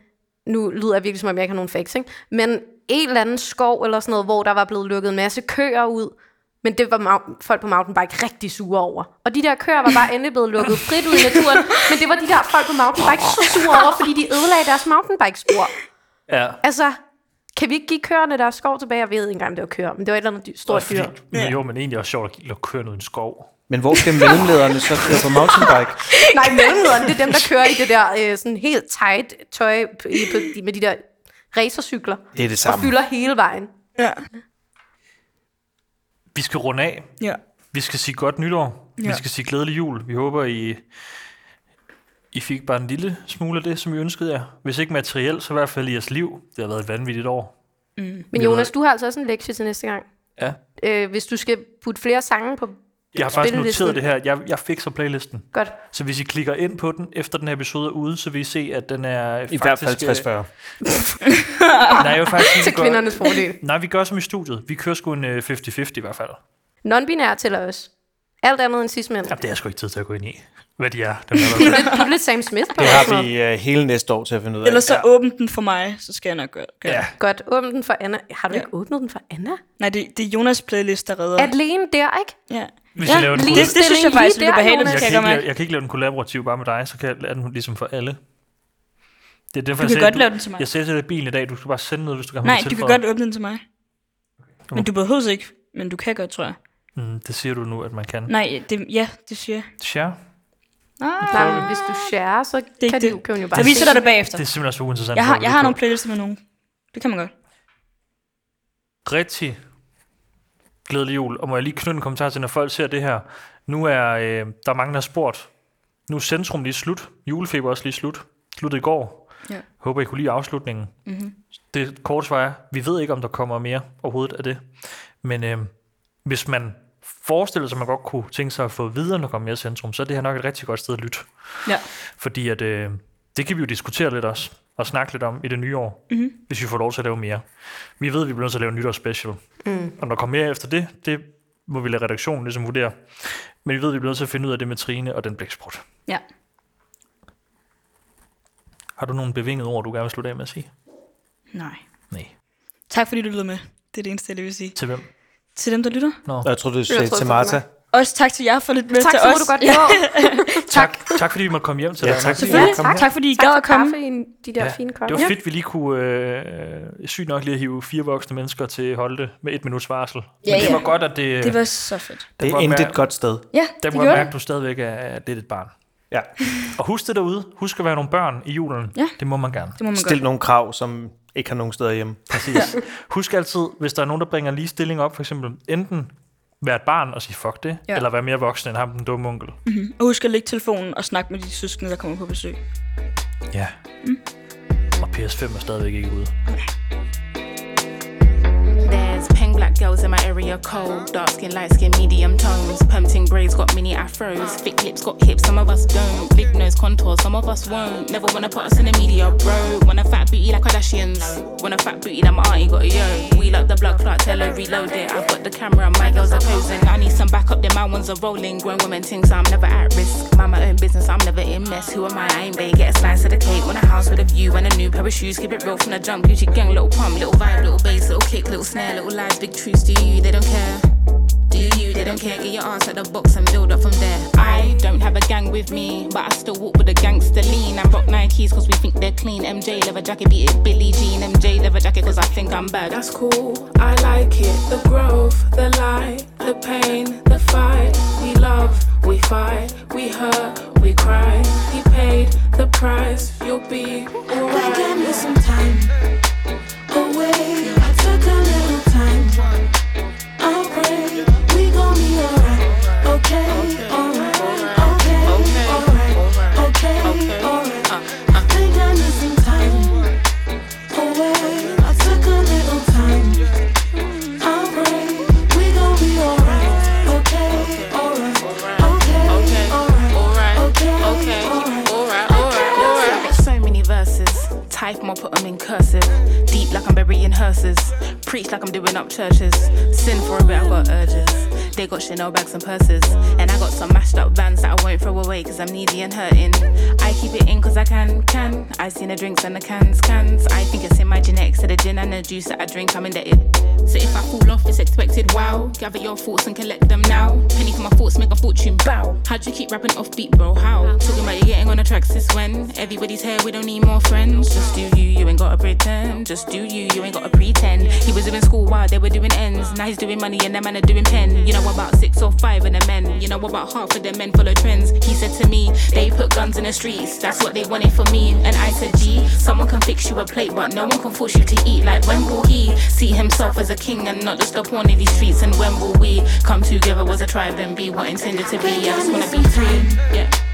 S5: nu lyder jeg virkelig, som om jeg ikke har nogen facts, ikke? men et eller andet skov eller sådan noget, hvor der var blevet lukket en masse køer ud, men det var mau- folk på mountainbike rigtig sure over. Og de der køer var bare endelig blevet lukket frit ud i naturen, men det var de der folk på mountainbike så sure over, fordi de ødelagde deres mountainbike-spor.
S2: Ja.
S5: Altså, kan vi ikke give køerne deres skov tilbage? Jeg ved ikke engang, om det var køer, men det var et eller andet dy-
S2: Og
S5: stort dyr.
S2: fordi, men jo, men egentlig også sjovt at køre noget i en skov.
S6: Men hvor skal mellemlederne så køre på mountainbike?
S5: Nej, mellemlederne, det er dem, der kører i det der øh, sådan helt tight tøj p- i- på, de- med de der racercykler.
S6: Det er det
S5: Og
S6: samme.
S5: fylder hele vejen.
S4: Ja.
S2: Vi skal runde af.
S4: ja.
S2: Vi skal sige godt nytår. Ja.
S4: Ja.
S2: Vi skal sige glædelig jul. Vi håber, I, I fik bare en lille smule af det, som I ønskede jer. Hvis ikke materielt, så i hvert fald i jeres liv. Det har været et vanvittigt år.
S5: Men Jonas, du har altså også en lektie til næste gang.
S2: Ja.
S5: Øh, hvis du skal putte flere sange på...
S2: Jeg har faktisk
S5: Spillelisten.
S2: noteret det her. Jeg, jeg fik så playlisten.
S5: Godt.
S2: Så hvis I klikker ind på den, efter den her episode er ude, så vil I se, at den er
S6: I
S2: faktisk...
S6: hvert fald
S2: øh,
S6: 60-40.
S2: Nej, jeg vil faktisk sige,
S5: Til
S2: vi gør-
S5: kvindernes fordel.
S2: Nej, vi gør som i studiet. Vi kører sgu en øh, 50-50 i hvert fald.
S5: Non-binær tæller også. Alt andet end cis mænd.
S2: Jamen, det har jeg sgu ikke tid til at gå ind i. Hvad de er. Dem er der-
S5: Du er lidt Sam Smith på
S6: Det
S5: vores
S6: har
S5: måde.
S6: vi uh, hele næste år til at finde ud af.
S4: Ellers så ja. åbn den for mig, så skal jeg nok gøre gøre
S2: Ja.
S4: det. Ja.
S5: Godt, åbn den for Anna. Har du
S4: Ja.
S5: ikke åbnet den for Anna?
S4: Nej, det, det er Jonas playlist, der redder.
S5: Alene der, ikke?
S4: Ja.
S2: Hvis
S4: ja,
S2: I laver den
S4: det,
S2: ud.
S4: det, det synes jeg faktisk er
S5: Lige
S4: lidt
S5: der,
S4: behageligt,
S5: Jonas.
S2: Jeg kan,
S4: kan jeg
S2: ikke
S4: godt
S2: lave,
S4: mærke.
S2: jeg kan ikke lave den kollaborativ bare med dig, så kan jeg lave den ligesom for alle. Det er derfor,
S4: Du
S2: jeg
S4: kan
S2: sagde,
S4: godt lave den til mig.
S2: Jeg sagde til dig i bilen i dag, du skal bare sende noget, hvis du kan
S4: Nej,
S2: have
S4: du
S2: noget
S4: kan
S2: tilføjet.
S4: godt åbne den til mig. Men du behøver ikke, men du kan godt, tror jeg.
S2: Mm, det siger du nu, at man kan.
S4: Nej, det, ja, det siger jeg. Ah.
S2: Tja,
S5: Nej, men hvis du share, så
S4: ikke
S5: kan, det.
S4: det.
S5: Du, kan hun jo bare
S4: Jeg viser
S5: se
S4: dig det bagefter.
S2: det er simpelthen så uinteressant.
S4: Jeg
S2: hvor
S4: har,
S2: vi
S4: jeg har
S2: er
S4: nogle
S2: på.
S4: playlister med nogen. Det kan man godt.
S2: Rigtig glædelig jul. Og må jeg lige knytte en kommentar til, når folk ser det her. Nu er øh, der er mange, der har spurgt. Nu er Centrum lige slut. Julefeber er også lige slut. Sluttede i går.
S4: Ja.
S2: Håber, I kunne lide afslutningen. Mm-hmm.
S5: Mhm.
S2: Det korte svar er, vi ved ikke, om der kommer mere overhovedet af det. Men øh, hvis man forestiller sig, at man godt kunne tænke sig at få videre, når der kommer mere Centrum, så er det her nok et rigtig godt sted at lytte.
S4: Ja.
S2: Fordi at, øh, det kan vi jo diskutere lidt også, og snakke lidt om i det nye år,
S4: Mhm.
S2: mm-hmm. hvis vi får lov til at lave mere. Vi ved, at vi bliver nødt til at lave en nytårsspecial. Mm. Og når der kommer mere efter det, det må vi lade redaktionen ligesom vurdere. Men vi ved, at vi bliver nødt til at finde ud af det med Trine og den blæksprut.
S4: Ja.
S2: Har du nogle bevingede ord, du gerne vil slutte af med at sige?
S4: Nej.
S2: Nej.
S4: Tak fordi du lyttede med. Det er det eneste, jeg lige vil sige.
S2: Til hvem?
S4: Til dem, der lytter.
S6: Og jeg tror, du
S5: troede,
S6: sagde
S5: det
S6: til
S5: var
S6: Martha.
S4: Også tak til jer for lidt med
S5: Tak,
S4: til
S5: så må
S4: os.
S5: du godt nå.
S2: Tak. Tak, fordi vi måtte komme hjem til
S6: Ja,
S2: dig.
S6: tak.
S4: Selvfølgelig.
S6: Tak.
S4: Tak, tak fordi I
S5: Tak
S4: gad
S5: for
S4: at komme.
S5: kaffe i de der
S2: Ja,
S5: fine kopper.
S2: det var fedt, vi lige kunne øh, sygt nok lige at hive fire voksne mennesker til Holte med et minuts varsel. Ja, Men det
S4: ja.
S2: var godt, at det...
S4: Det var så fedt.
S6: Det er
S2: var
S6: intet
S2: mær-
S6: et godt sted.
S4: Ja,
S2: Der
S4: det
S2: må jeg
S4: gjorde
S2: mærke, at
S4: det.
S2: du stadigvæk er lidt et barn.
S6: Ja.
S2: Og husk det derude. Husk at være nogle børn i julen.
S4: Ja.
S2: Det må man gerne.
S4: Det må man
S6: Stil
S4: godt.
S6: nogle krav, som ikke har nogen steder hjemme.
S2: Præcis. Husk altid, hvis der er nogen, der bringer lige stilling op, for eksempel enten være et barn og sige fuck det, ja.
S4: Ja.
S2: eller være mere voksen end ham, den dumme onkel.
S4: Og husk at lægge telefonen og snakke med de søskende, der kommer på besøg.
S2: Ja. Mm. Og PS5 er stadigvæk ikke ude.
S7: There's pink black girls in my area cold. Dark skin, light skin, medium tones. Pumping braids got mini afros. Thick lips got hips, some of us don't. Big nose contour, some of us won't. Never wanna put us in the media, bro. Wanna fat booty like Kardashians. Wanna fat booty like my auntie got a yo. Wheel up the block, clock, tell her reload it. I've got the camera, my girls are posing. I need some backup, then my ones are rolling. Grown woman things, I'm never at risk. Mind my own business, I'm never in mess. Who am I? I ain't bae. Get a slice of the cake. Want a house with a view and a new pair of shoes. Keep it real from the jump. Gucci gang, little pump, little vibe, little bass, little kick, little snare, little lies, big truths. Do you? They don't care. Do you? They don't care. Get your ass out the box and build up from there. I don't have a gang with me, but I still walk with a gangster lean. And rock Nikes cause we think they're clean. MJ leather jacket, beat it. Billie Jean. MJ leather jacket cause I think I'm bad. That's cool. I like it. The growth, the light, the pain, the fight. We love, we fight, we hurt, we cry. He paid the price. You'll be alright.
S8: I need some time away. I took a little time. I'll pray we gon' be alright. Okay, alright. Okay, alright. Okay, alright. I think I need some time away. I took a little time. I'll pray we gon' be alright. Okay, alright. Okay, alright. Okay, alright.
S7: So many verses. Type them or put them in cursive. Deep like I'm burying hearses. Preach like I'm doing up churches. Sin for a bit, I got urges. They got Chanel bags and purses. And I got some mashed up vans that I won't throw away cause I'm needy and hurting. I keep it in cause I can, can. I seen the drinks and the cans, cans. I think it's in my genetics to the gin and the juice that I drink, I'm indebted. So if I fall off, it's expected, wow. Gather your thoughts and collect them now. Penny for my thoughts, make a fortune, bow. How'd you keep rapping off beat, bro? How? Talking about you getting on the tracks this when? Everybody's here, we don't need more friends. Just do you, you ain't gotta pretend. Just do you, you ain't gotta pretend. He was doing school while they were doing ends. Now he's doing money and them man are doing pen. You know about six or five and the men. You know about half of the men follow trends. He said to me, they put guns in the streets. That's what they wanted for me. And I said, G, someone can fix you a plate, but no one can force you to eat. Like when will he see himself as a king and not just a pawn in these streets? And when will we come together as a tribe and be what intended to be? I just wanna be free. Yeah.